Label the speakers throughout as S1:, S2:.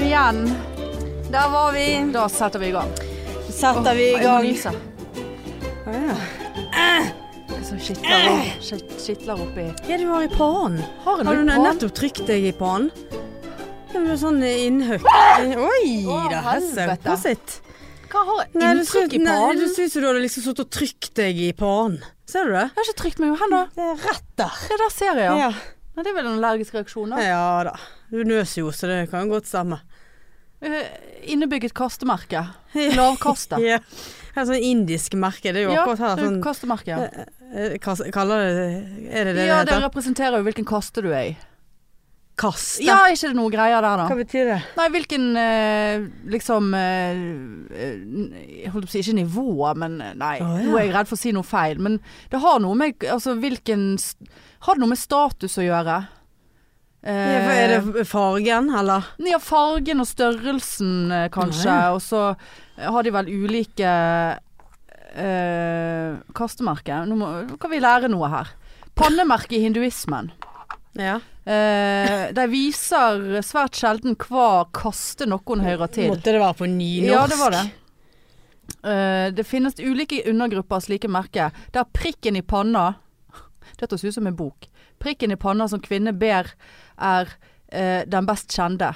S1: igjen. Der var vi. Da setter vi i gang.
S2: Setter vi i
S1: Jeg må
S2: gang.
S1: nyse.
S2: Å, ja.
S1: Jeg så skitler,
S2: Eh!
S1: skit- skitler oppi.
S2: Hva er det du har i pannen?
S1: Har jeg
S2: Har du
S1: noe på?
S2: nettopp trykt deg i pannen? Det blir sånn innhøkk. Oi
S1: Å,
S2: da, hesse.
S1: helvete.
S2: Prosit.
S1: Hva har jeg?
S2: Nei, du
S1: Inntrykk
S2: syns-
S1: i
S2: Nei,
S1: pannen?
S2: du syns jo du hadde liksom sittet og trykt deg i pannen. Ser du det?
S1: Jeg har ikke trykt meg jo hen da.
S2: Det er rett der.
S1: Ja, der ser jeg, ja.
S2: Ja,
S1: Nei, det er vel en allergisk reaksjon da.
S2: ja da. Du nøs jo, så det kan jo godt stemme.
S1: Eh, Innebygget kastemerke.
S2: Ja.
S1: Lavkaste.
S2: Ja. Her er sånn indisk merke. Det er jo
S1: Ja,
S2: akkurat her
S1: sånn,
S2: sånn
S1: kastemerke. Ja.
S2: eh, kas- Kaller det Er det det
S1: ja,
S2: det
S1: det
S2: heter?
S1: representerer jo hvilken kaste du er i.
S2: Kaste.
S1: Ja, er ikke det noe greier der, da?
S2: Hva betyr det?
S1: Nei, hvilken eh, liksom eh, eh, Jeg holdt på å si ikke nivå, men eh, nei.
S2: Å, ja.
S1: Nå er jeg redd for å si noe feil. Men det har noe med altså, hvilken s- Har det noe med status å gjøre?
S2: Ja, for
S1: Eh,
S2: Er det fargen, eller?
S1: Ja, fargen og størrelsen eh, kanskje,
S2: Nei.
S1: og så eh, har de vel ulike eh, kastemerker. Nå, må, nå kan vi lære noe her. Pannemerke i hinduismen.
S2: Ja.
S1: Eh, de viser svært sjelden hva kaste noen hører til.
S2: Måtte det være på nynorsk?
S1: Ja, det var det. Eh, det finnes ulike undergrupper av slike merker, der prikken i panna Dette høres ut som en bok. Prikken i panna som kvinne ber, er eh, den best kjende.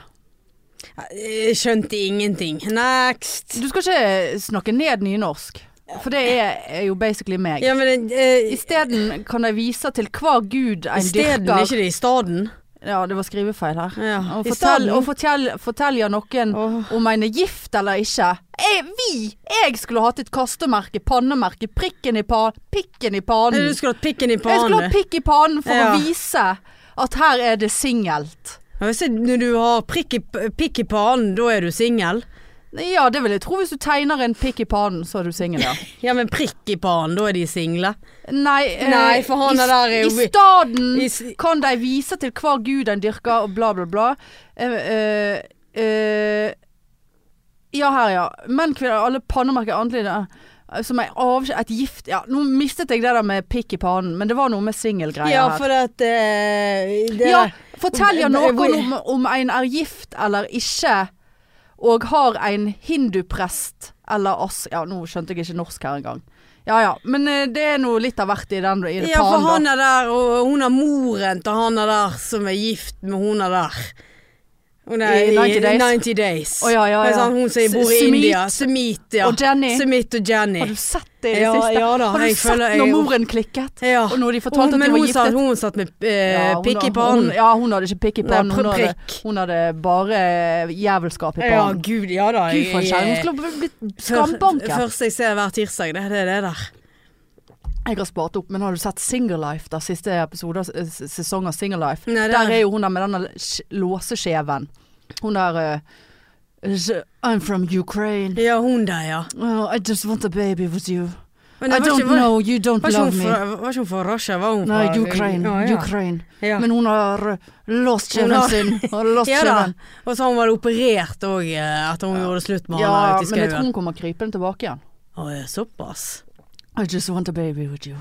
S2: Jeg skjønte ingenting. Next!
S1: Du skal ikke snakke ned nynorsk, for det er, er jo basically meg.
S2: Ja, men eh,
S1: Isteden kan de vise til hva gud en
S2: Isteden,
S1: dyrker
S2: ikke det i staden?
S1: Ja, det var skrivefeil her.
S2: Ja.
S1: Og
S2: I
S1: fortell,
S2: staden.
S1: og fortell, fortelja noen
S2: Åh.
S1: om en er gift eller ikke. Jeg, vi! Jeg skulle hatt et kastemerke, pannemerke, prikken i pa, pikken i
S2: Nei,
S1: panen.
S2: Du skulle hatt pikken i
S1: Jeg skulle
S2: pannen.
S1: hatt pikk i panen for
S2: Ja.
S1: å vise at her er det singelt.
S2: Ja, hvis det- Når du har prikk i, pikk i pannen, da er du singel.
S1: Ja, det vil jeg tro. Hvis du tegner en pikk i panen, så er du singel, ja.
S2: Ja, men prikk i pannen, da er de single.
S1: Nei, eh,
S2: Nei, for han
S1: i,
S2: er der i-
S1: i staden
S2: i s-
S1: kan de vise til hva gud en dyrker, og bla, bla, bla. Eh, eh, eh, ja, her, ja. Menn, kvinner, alle pannemerker annerledes. eh, Som er av, et gift Ja, nå mistet jeg det der med pikk i pannen, men det var noe med singelgreier
S2: Ja,
S1: her.
S2: for at eh, det eh,
S1: ja, fortell jo noe
S2: Hvor-
S1: om, om en er gift eller ikke, og har en hinduprest eller ass... Ja, nå skjønte jeg ikke norsk her engang. Ja ja, men eh, det er nå litt av hvert i den i det
S2: Ja, for
S1: panen, da.
S2: han er der, og hun er moren til han er der som er gift med hun er der. Hun er
S1: I 90 days.
S2: 90 days.
S1: Å, ja, ja,
S2: Det er
S1: ja.
S2: Sånn, hun som bor i
S1: S- Smith
S2: India. Smith ja.
S1: og Jenny.
S2: Smith og Jenny.
S1: Har du sett det i det
S2: Ja,
S1: siste?
S2: ja da,
S1: har du
S2: jeg
S1: sett
S2: føler-
S1: når
S2: jeg-
S1: moren klikket?
S2: Ja.
S1: Og når de fortalte
S2: Hun-
S1: at de
S2: men
S1: var
S2: hun satt-
S1: giftet?
S2: Hun satt med eh,
S1: Ja, hun
S2: pikk
S1: da-
S2: i pannen.
S1: Hun, ja, hun hadde ikke pikk i
S2: Nei,
S1: pannen. Hun,
S2: pr-
S1: hadde-
S2: prikk.
S1: hun hadde bare eh, jævelskap i
S2: Ja,
S1: pannen.
S2: gud, ja da.
S1: Gud, for en
S2: jeg-
S1: kjæring. Hun skulle bli- blitt
S2: Før-
S1: skambanket.
S2: Første jeg ser hver tirsdag, det, det er det der.
S1: Jeg har spart opp, men har du sett Single Life, da? Siste episode av s- sesong av Single Life?
S2: Nei, det
S1: der
S2: er-
S1: er jo hun der med denne sj- låseskjeven. Hun der eh, "Z- I'm from Ukraine.
S2: Ja, hun der, ja.
S1: Oh, I just want a baby with you.
S2: Men
S1: I
S2: det var
S1: don't
S2: ikke- var-
S1: know, you don't
S2: Var ikke, hun
S1: love me.
S2: fra, var ikke hun fra Russia? Var hun
S1: Nei,
S2: fra
S1: Ukraine.
S2: Ja, ja.
S1: Ukraine.
S2: Ja.
S1: Men hun har eh, låst
S2: Hun
S1: kjeven
S2: har-
S1: sin. Har låst
S2: Ja da.
S1: kjeven.
S2: Og så har hun vært operert òg etter hun gjorde det slutt med
S1: Ja,
S2: han der ute i
S1: men jeg tror
S2: skauen.
S1: hun kommer krypende tilbake igjen.
S2: Å, ja, Såpass.
S1: I just want a baby with you.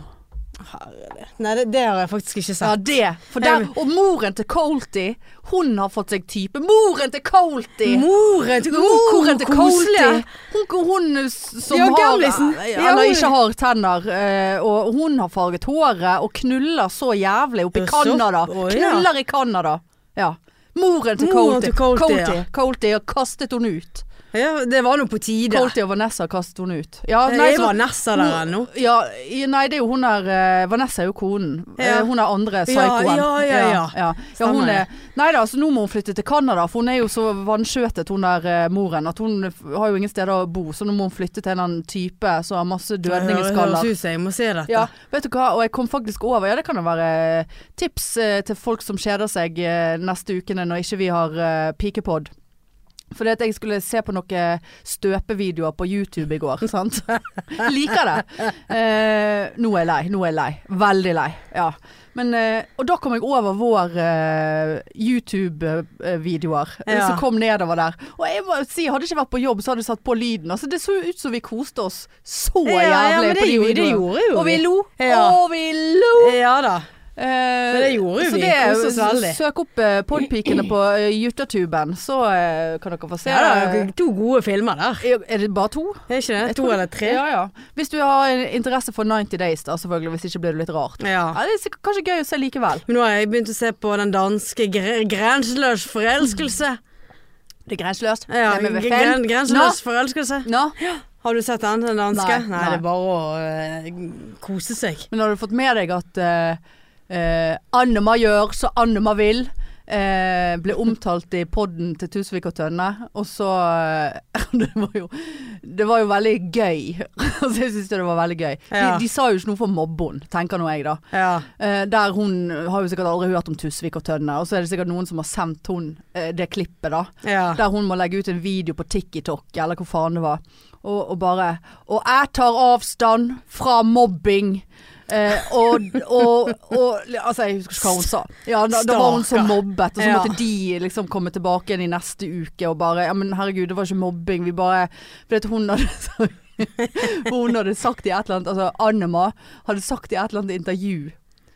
S2: Nei, det, det har jeg faktisk ikke
S1: Ja,
S2: sett.
S1: det. For der,
S2: Jeg-
S1: og moren til Colty, hun har fått seg type. Moren til Colty!
S2: Moren til
S1: Moren til Colty.
S2: koselig!
S1: Hun, hun eh, s- som
S2: Ja,
S1: har
S2: gamlisen. Ja,
S1: Eller
S2: hun-
S1: ikke har tenner. eh, Og hun har farget håret og knuller så jævlig oppe i
S2: Ja, så-
S1: Canada.
S2: Å, ja.
S1: Knuller i Canada. Ja. Moren til
S2: Moren
S1: Colty.
S2: til Colty, ja.
S1: Colty- Colty har kastet henne ut.
S2: Ja, det var nå på tide.
S1: Colty og Vanessa kastet hun ut. Ja,
S2: Jeg
S1: nei,
S2: er
S1: så-
S2: Vanessa der ennå.
S1: Ja, i- nei, det er jo hun der eh, Vanessa er jo konen.
S2: Ja.
S1: Eh, hun er andre psykoen.
S2: ja, ja,
S1: ja.
S2: ja.
S1: ja. ja hun
S2: Stemmer
S1: er, nei da, så nå må hun flytte til Canada, for hun er jo så vanskjøtet, hun der eh, moren, at hun f- har jo ingen steder å bo, så nå må hun flytte til en eller annen type som har masse
S2: Høres
S1: dødningeskaller.
S2: ut som jeg må se dette.
S1: Ja, vet du hva, og jeg kom faktisk over, ja det kan jo være eh, tips eh, til folk som kjeder seg eh, neste ukene når ikke vi har eh, pikepod. Fordi at jeg skulle se på noen støpevideoer på YouTube i går, sant? Liker det. Eh, nå er jeg lei, nå er jeg lei. Veldig lei, ja. Men, eh, og da kom jeg over vår eh, YouTube-videoer eh,
S2: Ja.
S1: som kom nedover der. Og jeg må si, hadde jeg ikke vært på jobb, så hadde jeg satt på lyden. Altså, det så ut som vi koste oss så
S2: Ja, ja,
S1: jævlig
S2: men det
S1: på de
S2: gjorde- det
S1: videoene.
S2: gjorde jo
S1: Og vi
S2: vi.
S1: lo,
S2: Ja.
S1: og vi lo.
S2: Ja da.
S1: Men
S2: det gjorde jo vi, koste oss veldig.
S1: Søk opp eh, Podpikene på eh, YouTube-tuben, så eh, kan dere få se.
S2: Ja, det er
S1: det.
S2: jo to gode filmer der.
S1: er det bare to?
S2: Er ikke det?
S1: Jeg
S2: To
S1: tror-
S2: eller tre?
S1: Ja, ja. Hvis du har en interesse for 90 Days, da, selvfølgelig. Hvis ikke blir det litt rart.
S2: ja.
S1: Ja, det er sikkert, kanskje gøy å se likevel.
S2: Men nå har jeg begynt å se på den danske gre Grenseløs forelskelse.
S1: Det er grenseløst.
S2: Ja,
S1: det er med
S2: gren
S1: Befehl.
S2: grenseløs forelskelse.
S1: Nå?
S2: Har du sett den, den danske?
S1: Nei,
S2: Nei,
S1: nei.
S2: det er bare å eh, kose seg.
S1: Men har du fått med deg at eh, eh, Annema gjør så Annema vil? eh, ble omtalt i podden til Tusvik og Tønne, og så eh, det, var jo, det var jo veldig gøy. altså, jeg syns det var veldig gøy. De,
S2: Ja.
S1: de sa jo ikke noe for mobben, tenker nå jeg, da.
S2: Ja.
S1: Eh, der hun har jo sikkert aldri hørt om Tusvik og Tønne, og så er det sikkert noen som har sendt hun eh, det klippet, da.
S2: ja.
S1: Der hun må legge ut en video på TikTok, eller hvor faen det var. Og, og bare Og jeg tar avstand fra mobbing. Eh, og, og, og Altså, jeg husker ikke hva hun sa. Ja, da, da var hun så
S2: Stakkar.
S1: mobbet, og så
S2: Ja.
S1: måtte de liksom komme tilbake igjen i neste uke og bare Ja, men herregud, det var ikke mobbing, vi bare For at hun hadde så- Hun hadde sagt i et eller annet Altså, Annema hadde sagt i et eller annet intervju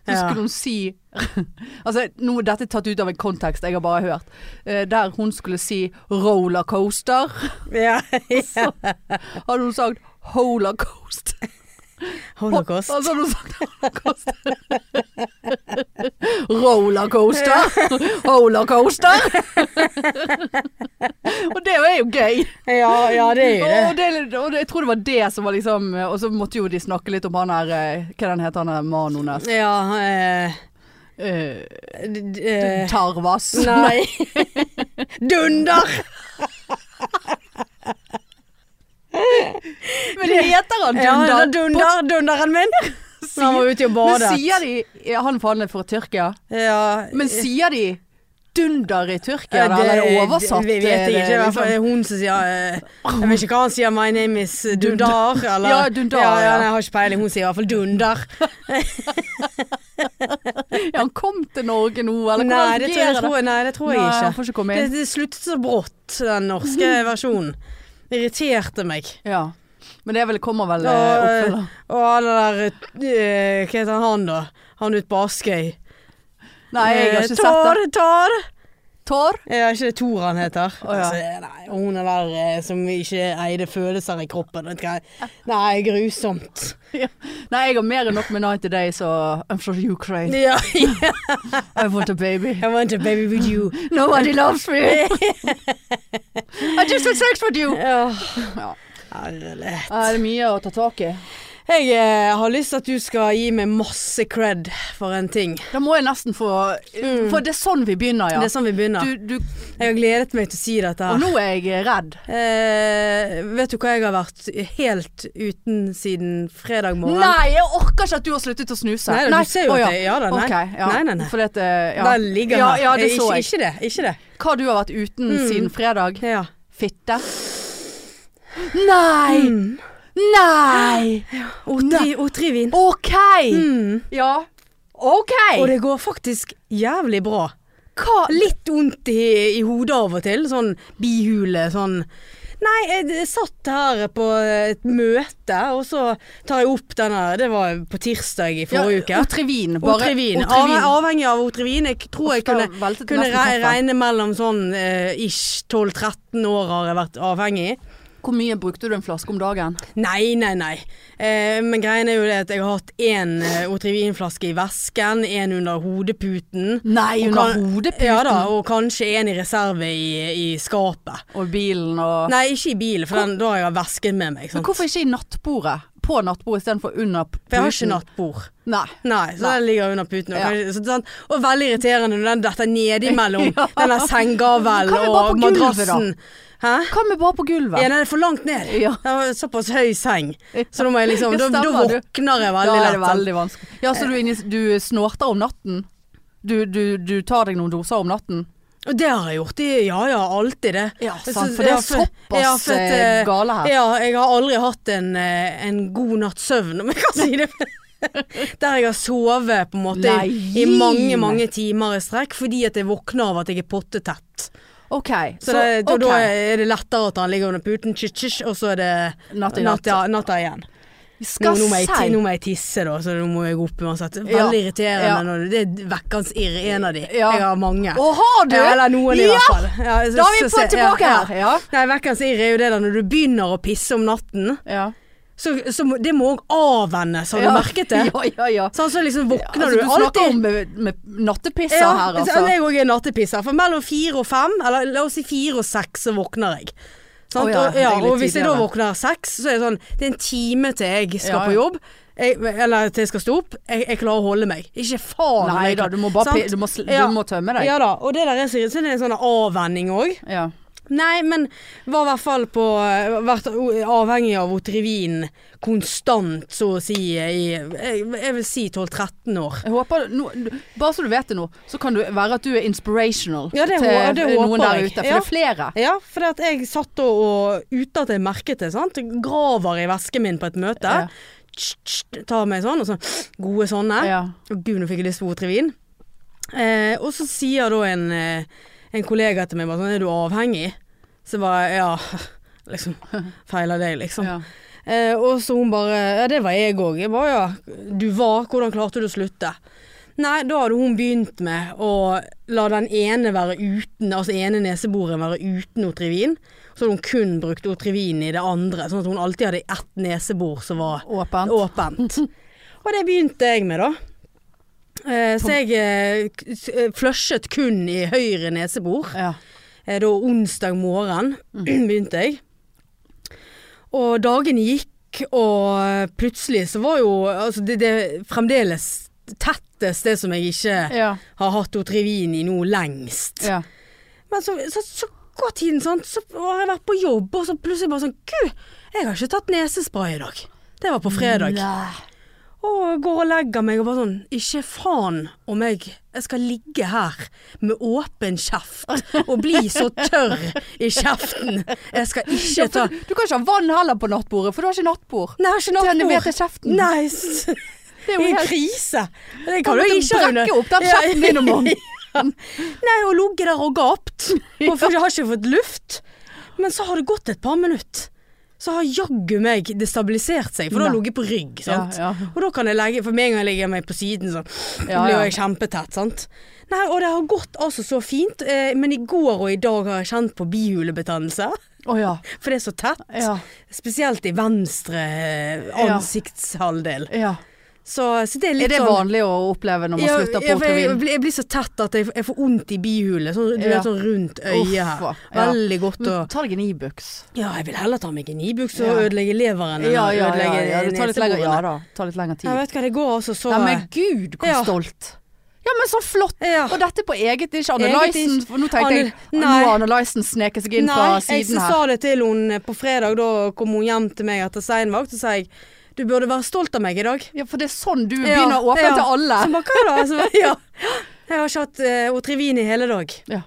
S1: så
S2: Ja.
S1: skulle hun si Altså, nå er dette tatt ut av en kontekst jeg har bare hørt. Eh, der hun skulle si 'rollercoaster',
S2: ja. ja.
S1: hadde hun sagt 'holocaust'.
S2: Holocaust.
S1: Altså hadde hun sagt holocaust. rollercoaster. Holocaster. og det er jo gøy.
S2: Ja, ja, det er jo det.
S1: Og, det, og det, jeg tror det var det som var liksom Og så måtte jo de snakke litt om han her eh, Hva den heter han her Manoen der?
S2: Ja eh,
S1: Eh,
S2: d- d- eh,
S1: Tarvas.
S2: Nei. Dunder!
S1: Men heter han
S2: Ja,
S1: Dunder?
S2: dunder, dunderen min. Han var ute
S1: Men
S2: og badet.
S1: sier de ja, Han faen er fra Tyrkia.
S2: Ja,
S1: Men sier de dunder i Tyrkia,
S2: Ja,
S1: da, eller er det oversatt?
S2: Eh. Det, vet jeg
S1: Er det
S2: ikke. I hvert fall
S1: liksom-
S2: er det hun som sier eh, Jeg vet ikke hva han sier. My name is Dundar, eller
S1: Ja, Dundar,
S2: Ja, ja,
S1: ja.
S2: nei, jeg har ikke peiling. Hun sier i hvert fall Dundar.
S1: Ja, han kom til Norge nå, eller hvordan
S2: Nei, det tror jeg,
S1: fungerer det?
S2: tror, nei, det tror jeg
S1: Nei, han
S2: ikke.
S1: får ikke komme
S2: Det,
S1: inn.
S2: det sluttet så brått, den norske versjonen. Det irriterte meg.
S1: Ja. Men det er vel, kommer vel eh,
S2: Ja, eh,
S1: oppfølger.
S2: Og han der eh, Hva heter han, da? Han ute på Askøy.
S1: Nei, jeg har ikke
S2: Eh,
S1: sett det.
S2: Tar, tar.
S1: Tor?
S2: Ja, ikke det Tor han heter?
S1: Å, ja.
S2: altså, nei, og hun er der eh, som ikke eide følelser i kroppen. vet du hva? Nei, grusomt.
S1: Nei, jeg har mer enn nok med 90 Days og I'm from Ukraine.
S2: Ja,
S1: I want a baby.
S2: I want a baby with you.
S1: Nobody loves me. I just had sex with you. Ja.
S2: Herlig.
S1: Ja, det er mye å ta tak i.
S2: Jeg eh, har lyst til at du skal gi meg masse cred for en ting.
S1: Da må jeg nesten få
S2: Mm.
S1: For det er sånn vi begynner, ja.
S2: Det er sånn Ah. vi begynner.
S1: Du, du,
S2: Jeg har gledet meg til å si dette.
S1: og nå er jeg redd.
S2: Eh, vet du hva jeg har vært helt uten siden fredag morgen?
S1: Nei, jeg orker ikke at du har sluttet å snuse.
S2: Nei, du ser jo
S1: å,
S2: at jeg- ja da, nei.
S1: Ok, ja.
S2: Nei, nei, nei.
S1: Fordi at, eh, ja.
S2: Den ligger
S1: ja,
S2: her.
S1: Ja, det
S2: Eh,
S1: så
S2: ikke,
S1: jeg.
S2: Ikke det. Ikke det.
S1: Hva du har vært uten
S2: Mm.
S1: siden fredag.
S2: Ja.
S1: Fitte. Nei!
S2: Mm.
S1: Nei!
S2: Otri, Otrivin.
S1: OK!
S2: Ah. Mm.
S1: Ja. OK!
S2: Og det går faktisk jævlig bra.
S1: Hva
S2: Litt vondt i, i hodet av og til. Sånn bihule, sånn Nei, jeg d- satt her på et møte, og så tar jeg opp denne Det var på tirsdag i forrige uke.
S1: Otrivin. Bare
S2: Otrivin.
S1: Otrivin.
S2: Av, avhengig av Otrivin. Jeg tror jeg
S1: Da
S2: kunne,
S1: veltet
S2: kunne
S1: nesten
S2: re
S1: kaffen.
S2: regne mellom sånn eh, ish 12-13 år har jeg vært avhengig.
S1: Hvor mye brukte du en flaske om dagen?
S2: Nei, nei, nei. Eh, men greien er jo det at jeg har hatt én eh, Otrivinflaske i vesken, én under hodeputen.
S1: Nei,
S2: Og
S1: under
S2: kan-
S1: hodeputen.
S2: Ja da, og kanskje én i reserve i, i skapet.
S1: Og bilen og
S2: Nei, ikke i bilen, for den, da har jeg vesken med meg.
S1: Men
S2: Sant?
S1: hvorfor ikke i nattbordet? På nattbordet istedenfor under puten?
S2: For jeg har ikke nattbord.
S1: Nei.
S2: Nei, så
S1: Nei.
S2: den ligger under puten. Og,
S1: Ja.
S2: kanskje, så, sånn, og veldig irriterende når den detter nedimellom
S1: Ja.
S2: denne senggavelen
S1: Kan vi bare på
S2: og
S1: gulvet,
S2: madrassen. Hæ?
S1: Hva med bare på gulvet?
S2: Ja, nei, det er for langt ned.
S1: Ja.
S2: Det var såpass høy seng. Så da må jeg liksom
S1: Ja,
S2: Da, da
S1: stemmer, du.
S2: våkner jeg
S1: da
S2: veldig
S1: er
S2: lett.
S1: det
S2: sant?
S1: veldig vanskelig. Ja, så du, er inne i- du snorter om natten? Du, du, du tar deg noen doser om natten?
S2: Og det har jeg gjort. Det- Ja ja, alltid det.
S1: Ja,
S2: Så-
S1: sant, for det
S2: ja,
S1: er såpass
S2: ja, for at,
S1: eh,
S2: eh,
S1: gale her.
S2: Ja, jeg har aldri hatt en, eh, en god natts søvn, om jeg kan si det. Der jeg har sovet på en måte
S1: Nei,
S2: i, i mange mange timer i strekk fordi at jeg våkner av at jeg er pottetett.
S1: OK.
S2: Så, det, da,
S1: ok.
S2: da er det lettere at han ligger under puten, tsk, tsk, og så er det
S1: Natt i natt.
S2: natta, natta igjen.
S1: Vi
S2: Nå,
S1: skal
S2: nå, må jeg, ti-
S1: si
S2: nå må jeg tisse, da, så nå må jeg opp uansett. Veldig
S1: Ja.
S2: irriterende
S1: Ja.
S2: når du Det er vekkende irr, en av de.
S1: Ja.
S2: Jeg har mange.
S1: Å, har du?
S2: Ja, eller noen i
S1: Ja!
S2: hvert fall. Ja, jeg
S1: Da er vi
S2: synes-
S1: på
S2: ja,
S1: tilbake
S2: ja.
S1: her. Ja.
S2: Nei, vekkende irr er jo det der når du begynner å pisse om natten.
S1: ja.
S2: Så, så må- det må òg avvennes, har
S1: ja.
S2: du merket det?
S1: Ja, ja, ja.
S2: Sånn så liksom våkner
S1: Altså, du
S2: du
S1: snakker
S2: alltid
S1: om med, med nattepisser
S2: Ja,
S1: her,
S2: så
S1: altså.
S2: Jeg òg er nattepisser. For mellom fire og fem, eller la oss si fire og seks, så våkner jeg. Sant?
S1: Å ja,
S2: og, ja,
S1: jeg er litt
S2: og hvis jeg da
S1: tidligere.
S2: våkner seks, så er det sånn Det er en time til jeg skal
S1: Ja,
S2: på
S1: ja.
S2: jobb. Jeg, eller til jeg skal stå opp. Jeg, jeg klarer å holde meg. Ikke faen. om
S1: Nei
S2: jeg
S1: da,
S2: klarer-
S1: du må bare
S2: sant?
S1: pi- du må, sl-
S2: Ja.
S1: du må tømme deg.
S2: Ja da. Og det der er så irriterende. Det er en sånn avvenning òg.
S1: Ja.
S2: Nei, men var i hvert fall på Vært avhengig av Otrivin konstant, så å si, i Jeg, jeg vil si 12-13 år.
S1: Jeg håper, nå- bare så du vet det nå, så kan du være at du er inspirational
S2: Ja, det
S1: til
S2: hå- det håper
S1: noen der
S2: jeg.
S1: ute. For
S2: Ja.
S1: det er flere.
S2: Ja, for at jeg satt og, og uten at jeg merket det, sant? graver i vesken min på et møte.
S1: Ja.
S2: Tss, tss, tar meg sånn, og så gode sånne.
S1: Ja.
S2: Å, Gud, nå fikk jeg lyst på Otrivin. Eh, og så sier da en, eh, en kollega til meg bare sånn, er du avhengig? Så bare, ja, liksom, feiler deg liksom.
S1: Ja.
S2: Eh, og så hun bare Ja, det var jeg òg. Jeg bare ja, du var. Hvordan klarte du å slutte? Nei, da hadde hun begynt med å la den ene være uten, altså ene neseboreren være uten Otrivin. Så hadde hun kun brukt Otrivin i det andre, sånn at hun alltid hadde ett nesebor som var
S1: Åpent.
S2: åpent. Og det begynte jeg med, da. Eh, så jeg eh, k- s- eh, flushet kun i høyre nesebor.
S1: Ja.
S2: Eh, Da onsdag morgen
S1: Mm.
S2: begynte jeg. Og dagene gikk, og plutselig så var jo altså det, det fremdeles tettest det som jeg ikke
S1: Ja.
S2: har hatt Otrivin i nå lengst.
S1: Ja.
S2: Men så, så, så går tiden sånn, så har jeg vært på jobb, og så plutselig bare sånn Gud, jeg har ikke tatt nesespray i dag. Det var på fredag.
S1: Nei.
S2: Og går og legger meg og bare sånn Ikke faen om jeg, jeg skal ligge her med åpen kjeft og bli så tørr i kjeften. Jeg skal ikke ta
S1: For, du kan ikke ha vann heller på nattbordet, for du har ikke nattbord.
S2: Nei, jeg har ikke
S1: Tenne mer
S2: nattbord.
S1: til kjeften.
S2: Nei, s- det
S1: Det er
S2: er
S1: jo
S2: en
S1: helt
S2: krise. Det
S1: Da
S2: kan du
S1: måtte du
S2: ikke ha
S1: brekke opp den
S2: Ja.
S1: kjeften din om morgenen.
S2: Nei, og ligget der og gapt. Og for jeg har ikke fått luft. Men så har det gått et par minutter. Så har jaggu meg destabilisert seg, for da har jeg ligget på rygg. sant?
S1: Ja, ja.
S2: Og da kan jeg legge, for med en gang jeg legger meg på siden, så
S1: Ja,
S2: blir
S1: ja.
S2: jeg kjempetett. sant? Nei, og det har gått altså så fint, eh, men i går og i dag har jeg kjent på bihulebetennelse.
S1: Å ja.
S2: For det er så tett.
S1: Ja.
S2: Spesielt i venstre eh,
S1: Ja.
S2: ansiktshalvdel.
S1: ja.
S2: Så, så det er
S1: Er
S2: litt
S1: det
S2: sånn
S1: vanlig å oppleve når man
S2: Ja,
S1: slutter på
S2: ja, for jeg, jeg,
S1: Otrivin?
S2: blir- jeg blir så tett at jeg, jeg får vondt i bihulet. Sånn, du
S1: Ja.
S2: vet, sånn rundt øyet her.
S1: Uff, ja.
S2: Veldig godt å
S1: Men Ta deg en Ibux.
S2: Ja, jeg vil heller ta meg en Ibux og
S1: Ja.
S2: ødelegge leveren enn å ødelegge
S1: Det tar litt lengre,
S2: neseborene.
S1: ja da. Ta litt lengre
S2: Jeg
S1: tid.
S2: vet hva, det går altså så
S1: Nei, men gud, hvor
S2: Ja.
S1: stolt. Ja, men så flott.
S2: Ja.
S1: Og dette på eget, det er ikke Anne
S2: Eget
S1: Lysen.
S2: ikke.
S1: For nå tenkte jeg
S2: Anne-
S1: nå
S2: Nei.
S1: har Anne Lysen sneket seg inn fra
S2: Nei, jeg
S1: siden her.
S2: sa det til hun eh, på fredag, da kom hun hjem til meg etter seinvakt, og sa jeg du burde være stolt av meg i dag.
S1: Ja, for det er sånn du
S2: Ja,
S1: begynner å åpne
S2: ja. Sånn.
S1: til alle.
S2: Så bare, hva da? Så, bare, ja. Jeg har ikke hatt eh, Otrivin i hele dag.
S1: Ja.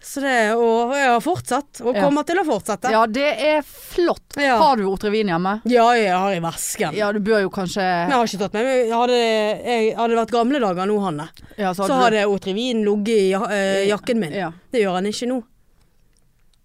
S2: Så det, og jeg har fortsatt, og
S1: Ja.
S2: kommer til å fortsette.
S1: ja, det er flott.
S2: Ja.
S1: Har du Otrevin hjemme?
S2: ja jeg har i vesken.
S1: Ja, du bør jo kanskje
S2: Men jeg har ikke tatt med meg Hadde, jeg, hadde det vært gamle dager nå, Hanne,
S1: ja,
S2: så hadde Otrivin ligget i ja- eh, jakken min.
S1: Ja.
S2: Det gjør han ikke nå.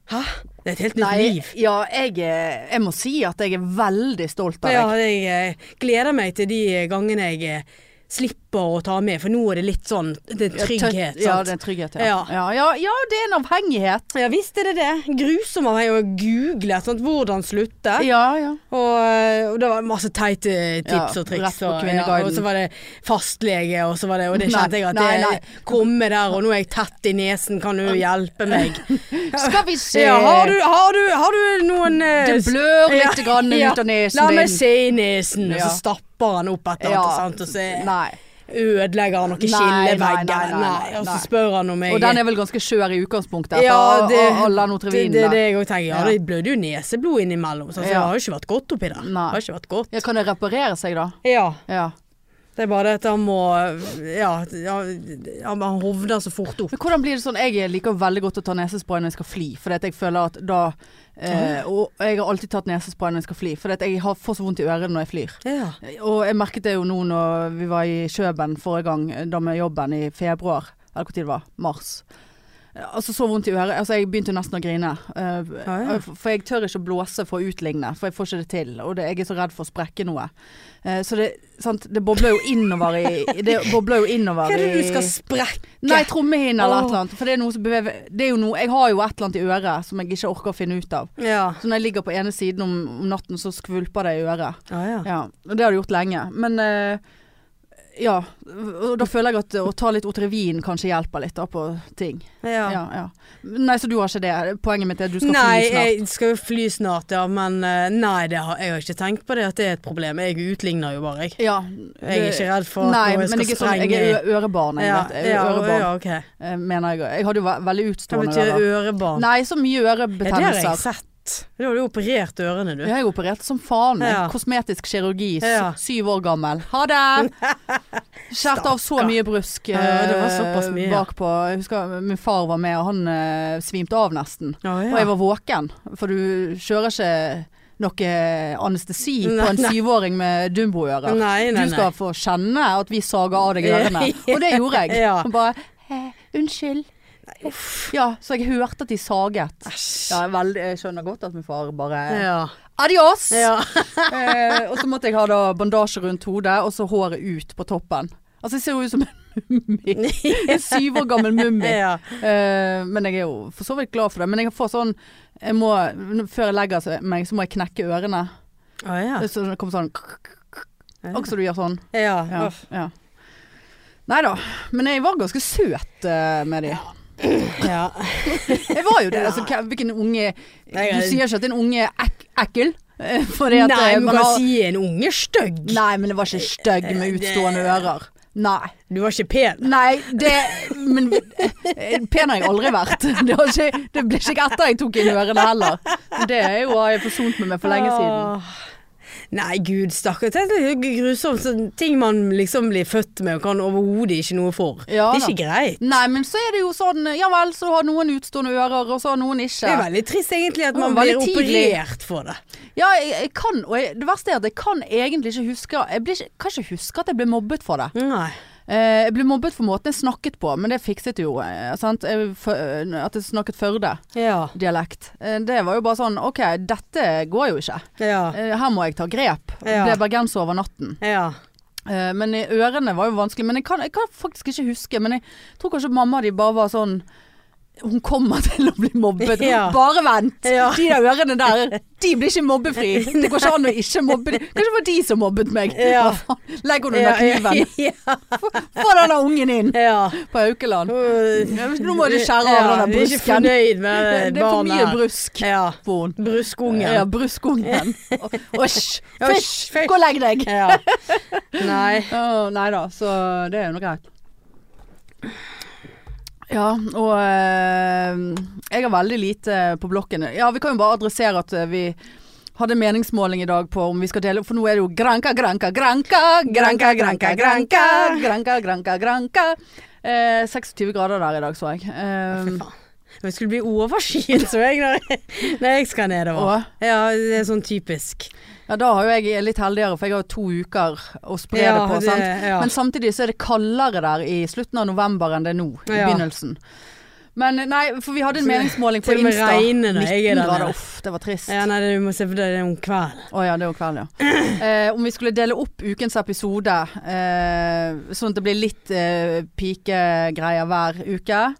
S2: Hæ? Det er et helt nytt
S1: Nei,
S2: liv.
S1: ja, jeg, er- jeg må si at jeg er veldig stolt av deg.
S2: Ja, jeg eh, gleder meg til de gangene jeg eh, slipper å ta med, for nå er det litt sånn det er
S1: Ja, tøtt-
S2: trygghet.
S1: Ja,
S2: sant?
S1: det er trygghet, ja. Ja.
S2: Ja.
S1: Ja, ja, det er en avhengighet.
S2: Ja visst er det det. Grusom av meg å google sant? hvordan slutte.
S1: Ja, ja.
S2: Og, eh, og det var masse teite tips
S1: Ja,
S2: og triks.
S1: rett på
S2: og,
S1: Kvinneguiden.
S2: og så var det fastlege, og så var det Og det
S1: Nei,
S2: kjente jeg at
S1: nei,
S2: det
S1: nei.
S2: komme der, og nå er jeg tett i nesen, kan du hjelpe meg?
S1: Skal vi se
S2: Ja, har, du, har, du, har du noen eh,
S1: Det blør
S2: Ja,
S1: litt grann
S2: ja.
S1: ut av nesen
S2: La
S1: din.
S2: meg se i nesen, og
S1: Ja.
S2: så stapper han opp et eller
S1: Ja.
S2: annet. Sant? Og så,
S1: Nei.
S2: Ødelegger han noen
S1: Nei,
S2: skillevegger?
S1: nei, nei,
S2: Nei,
S1: nei,
S2: Og så
S1: nei.
S2: spør han om jeg
S1: Og den er vel ganske skjør i utgangspunktet etter
S2: Ja, det-
S1: all den
S2: det,
S1: Otrevinen
S2: det
S1: der.
S2: er det jeg òg tenker. Ja,
S1: Ja.
S2: det blødde jo neseblod innimellom. Så
S1: Ja.
S2: altså, det har jo ikke vært godt oppi der.
S1: Nei.
S2: Det har ikke vært godt.
S1: Ja, kan det reparere seg da?
S2: Ja.
S1: Ja.
S2: Det er bare det at han må Ja, ja han han hovner så fort opp.
S1: Men hvordan blir det sånn, jeg liker veldig godt å ta nesespray når jeg skal fly, fordi at jeg føler at da eh, Og jeg har alltid tatt nesespray når jeg skal fly, fordi at jeg har får så vondt i ørene når jeg flyr.
S2: Ja.
S1: Og jeg merket det jo nå når vi var i Kjøben forrige gang, da med jobben i februar. Eller hvor tid det var? Mars. Altså så vondt i øret. Altså jeg begynte jo nesten å grine. Eh,
S2: Ah, ja.
S1: For for jeg tør ikke å blåse for å utligne, for jeg får ikke det til. Og det, jeg er så redd for å sprekke noe. Eh, Så det, sant, det bobler jo innover i Det bobler jo innover
S2: Hva er det
S1: i-
S2: du skal sprekke?
S1: Nei, trommehinne eller
S2: Åh.
S1: et eller annet. For det er noe som beveger Det er jo noe Jeg har jo et eller annet i øret som jeg ikke orker å finne ut av.
S2: Ja.
S1: Så når jeg ligger på ene siden om, om natten, så skvulper det i øret.
S2: Ja, ja.
S1: Ja, og det har det gjort lenge. Men eh, ja. Og da føler jeg at å ta litt Otrevin kanskje hjelper litt da på ting.
S2: ja.
S1: Ja, ja. Nei, så du har ikke det. Poenget mitt er at du skal
S2: nei,
S1: fly snart.
S2: jeg skal jo fly snart, ja. Men eh, nei, det har, jeg har ikke tenkt på det at det er et problem. Jeg utligner jo bare, jeg.
S1: Ja,
S2: Jeg er ikke redd for at
S1: Nei,
S2: noe
S1: men jeg
S2: skal
S1: er, sånn,
S2: sprenge
S1: jeg er ø- ørebarn. Jeg,
S2: ja,
S1: vet. jeg er
S2: ja,
S1: ørebarn,
S2: ja, ok.
S1: eh, mener jeg. Jeg hadde jo ve- veldig
S2: Hva
S1: utstående
S2: betyr
S1: ører.
S2: ørebarn?
S1: Nei, så mye
S2: Ja, det har jeg
S1: ørebetegnelser.
S2: sett. Du har jo operert ørene, du.
S1: Ja, jeg opererte som faen. jeg.
S2: Ja.
S1: Kosmetisk kirurgi, s-
S2: Ja.
S1: syv år gammel. Ha det! Skjærte av så
S2: Stakkar.
S1: mye brusk
S2: Ja, det var
S1: eh,
S2: såpass mye, ja.
S1: bakpå. Jeg husker min far var med, og han eh, svimte av nesten.
S2: Ja,
S1: Og jeg
S2: ja.
S1: var våken, for du kjører ikke noe anestesi på
S2: Nei,
S1: en
S2: nei.
S1: syvåring med
S2: Nei,
S1: jumboører.
S2: nei, nei.
S1: Du skal få kjenne at vi sager av deg ørene. Og det gjorde jeg.
S2: Ja.
S1: Og bare eh, Unnskyld. Ja, så jeg hørte at de saget.
S2: Æsj.
S1: Ja, veldig, jeg skjønner godt at min far bare
S2: Ja.
S1: Adios!
S2: ja.
S1: eh, og så måtte jeg ha da bandasje rundt hodet, og så håret ut på toppen. Altså jeg ser jo ut som en mummi. En syv år gammel mummi.
S2: ja.
S1: Eh, men jeg er jo for så vidt glad for det. Men jeg får sånn jeg må, Før jeg legger meg, så må jeg knekke ørene.
S2: Å, ja.
S1: Så det kommer sånn Og så du gjør sånn.
S2: ja.
S1: Ja, ja. Nei da. Men jeg var ganske søt eh, med de.
S2: ja.
S1: Jeg var jo det. Altså, hva- hvilken unge
S2: Nei,
S1: Du sier ikke at en unge er ek ekkel. eh, Fordi at
S2: Nei,
S1: eh,
S2: du
S1: man
S2: kan
S1: har
S2: si en unge stygg.
S1: Nei, men det var ikke stygg med utstående ører. Nei.
S2: Du var ikke pen.
S1: Nei, det Men eh, pen har jeg aldri vært. Det, har ikke, det ble ikke etter jeg tok inn ørene heller. Det er jo har jeg forsont meg med for lenge siden.
S2: Åh. Nei, gud stakkar. Det er så grusomt. Sånn ting man liksom blir født med og kan overhodet ikke noe for.
S1: Ja
S2: det er
S1: da.
S2: ikke greit.
S1: Nei, men så er det jo sånn Ja vel, så har noen utstående ører, og så har noen
S2: Det
S1: ikke.
S2: er veldig trist egentlig at
S1: Det var
S2: man blir
S1: veldig tidlig.
S2: operert for det.
S1: Ja, jeg, jeg kan, og jeg, det verste er at jeg kan egentlig ikke huske Jeg blir ikke, kan ikke huske at jeg ble mobbet for det.
S2: Nei.
S1: Eh, jeg ble mobbet for måten jeg snakket på, men det fikset jo, eh, sant. Jeg, for, eh, at jeg snakket Førde-dialekt.
S2: Ja.
S1: Eh, det var jo bare sånn OK, dette går jo ikke.
S2: Ja.
S1: Eh, her må jeg ta grep.
S2: Ja.
S1: Ble bergenser over natten.
S2: Ja.
S1: Eh, men i ørene var jo vanskelig. Men jeg kan, jeg kan faktisk ikke huske. Men jeg tror kanskje mamma og de bare var sånn Hun kommer til å bli mobbet.
S2: Ja.
S1: Bare vent!
S2: Ja.
S1: De der ørene der, de blir ikke mobbefri. Det går ikke an å ikke mobbe dem. Kanskje det var de som mobbet meg.
S2: Ja.
S1: Hva faen? Legg henne
S2: Ja,
S1: under kniven.
S2: ja,
S1: Få denne ungen inn
S2: ja.
S1: på Haukeland.
S2: Nå
S1: Nå må du skjære av den der
S2: Vi er ikke
S1: brusken.
S2: fornøyd med
S1: Det
S2: barnet.
S1: er for mye
S2: her.
S1: brusk
S2: Ja.
S1: på henne.
S2: Bruskungen.
S1: Ja, bruskungen. Osj,
S2: Ja,
S1: fysj,
S2: fysj.
S1: gå og legg deg.
S2: Ja. Nei.
S1: Å, nei da, så det er jo noe greit. Ja, og eh, jeg har veldig lite på blokken. Ja, vi kan jo bare adressere at eh, vi hadde meningsmåling i dag på om vi skal dele For nå er det jo granka, granka, granka. Granka, granka, granka. Granka, granka, granka. Eh, 26 grader der i dag, så jeg.
S2: Fy
S1: Eh,
S2: faen. Men Jeg skulle bli overskyet, så jeg, når jeg, når jeg skal nedover.
S1: Eh, og
S2: Ja, det er sånn typisk.
S1: ja, da har jo jeg er litt heldigere, for jeg har jo to uker å spre
S2: Ja,
S1: det på. sant?
S2: ja.
S1: Men samtidig så er det kaldere der i slutten av november enn det er nå, i
S2: Ja.
S1: begynnelsen. Men eh, nei, for vi hadde en
S2: Så-
S1: meningsmåling på
S2: til og med
S1: Insta.
S2: regner når jeg er der nede.
S1: grader, uff, det var trist. Å
S2: ja,
S1: ja.
S2: nei, det- du må se på det, det er om kvelden.
S1: det var kveld, ja. Eh, om vi skulle dele opp ukens episode, eh, sånn at det blir litt eh, pikegreier hver uke.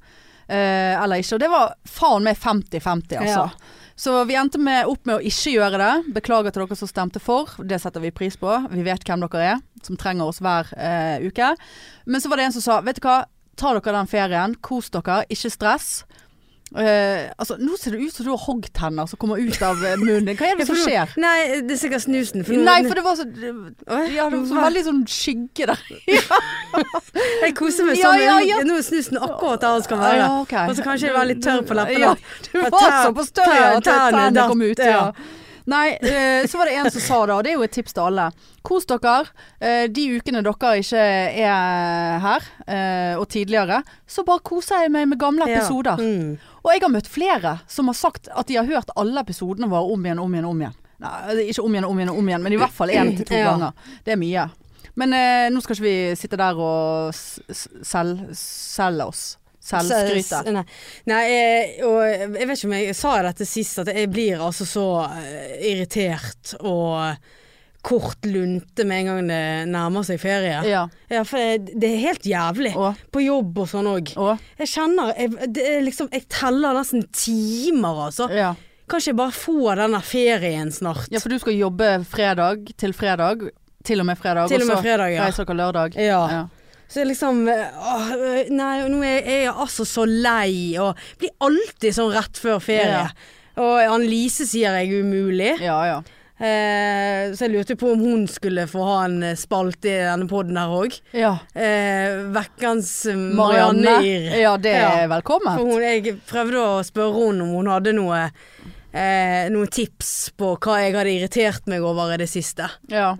S1: Eh, eller ikke. Og det var faen meg 50-50, altså.
S2: Ja.
S1: Så vi endte med, opp med å ikke gjøre det. Beklager til dere som stemte for. Det setter vi pris på. Vi vet hvem dere er, som trenger oss hver eh, uke. Men så var det en som sa, vet du hva, ta dere den ferien. Kos dere, ikke stress. Eh, altså, nå ser det ut som du har hoggtenner som kommer ut av eh, munnen. Hva er det som skjer?
S2: Nei, det er sikkert snusen. For nå,
S1: Nei, for det var så,
S2: Åh,
S1: ja, det var så veldig sånn skygge der.
S2: Jeg koser meg
S1: Ja,
S2: sånn.
S1: ja, ja.
S2: Nå er snusen akkurat der den skal være.
S1: Ja, ok.
S2: Og så kanskje jeg var litt tørr på leppene.
S1: Ja, du
S2: At
S1: var
S2: tær-
S1: såpass tørr ja, at
S2: tærne
S1: tennene
S2: datt,
S1: kom ut.
S2: ja.
S1: Ja. Nei, eh, så var det en som sa det, og det er jo et tips til alle. Kos dere. Eh, de ukene dere ikke er her, eh, og tidligere, så bare koser jeg meg med gamle
S2: Ja.
S1: episoder.
S2: Mm.
S1: Og jeg har møtt flere som har sagt at de har hørt alle episodene våre om igjen, om igjen, om igjen. Nei, ikke om igjen, om igjen, om igjen, men i hvert fall én til to
S2: Ja.
S1: ganger. Det er mye. Men eh, nå skal ikke vi sitte der og s- s- sel- selge oss. Selvskryter.
S2: Nei, nei eh, og jeg vet ikke om jeg sa jeg dette sist, at jeg blir altså så eh, irritert og kort lunte med en gang det nærmer seg ferie. Ja,
S1: Ja.
S2: for det, det er helt jævlig.
S1: Og,
S2: På jobb og sånn òg.
S1: og
S2: Jeg kjenner jeg, det er liksom, jeg teller nesten timer, altså.
S1: ja.
S2: Kanskje jeg bare får denne ferien snart.
S1: ja, for du skal jobbe fredag til fredag. Til og med fredag.
S2: Til og med fredag,
S1: og så
S2: ja.
S1: reiser dere lørdag.
S2: ja.
S1: Ja.
S2: Så jeg liksom åh, Nei, nå er jeg er altså så lei, og blir alltid sånn rett før
S1: Ja.
S2: ferie. Og Annelise sier jeg er umulig,
S1: ja, ja.
S2: eh, så jeg lurte på om hun skulle få ha en spalte i denne poden her òg.
S1: ja.
S2: Eh, Vekkens Marianne
S1: Marianne.
S2: Yr.
S1: Ja, det er
S2: Ja.
S1: velkommen.
S2: For hun, jeg prøvde å spørre henne om hun hadde noe eh, noen tips på hva jeg hadde irritert meg over i det siste.
S1: Ja.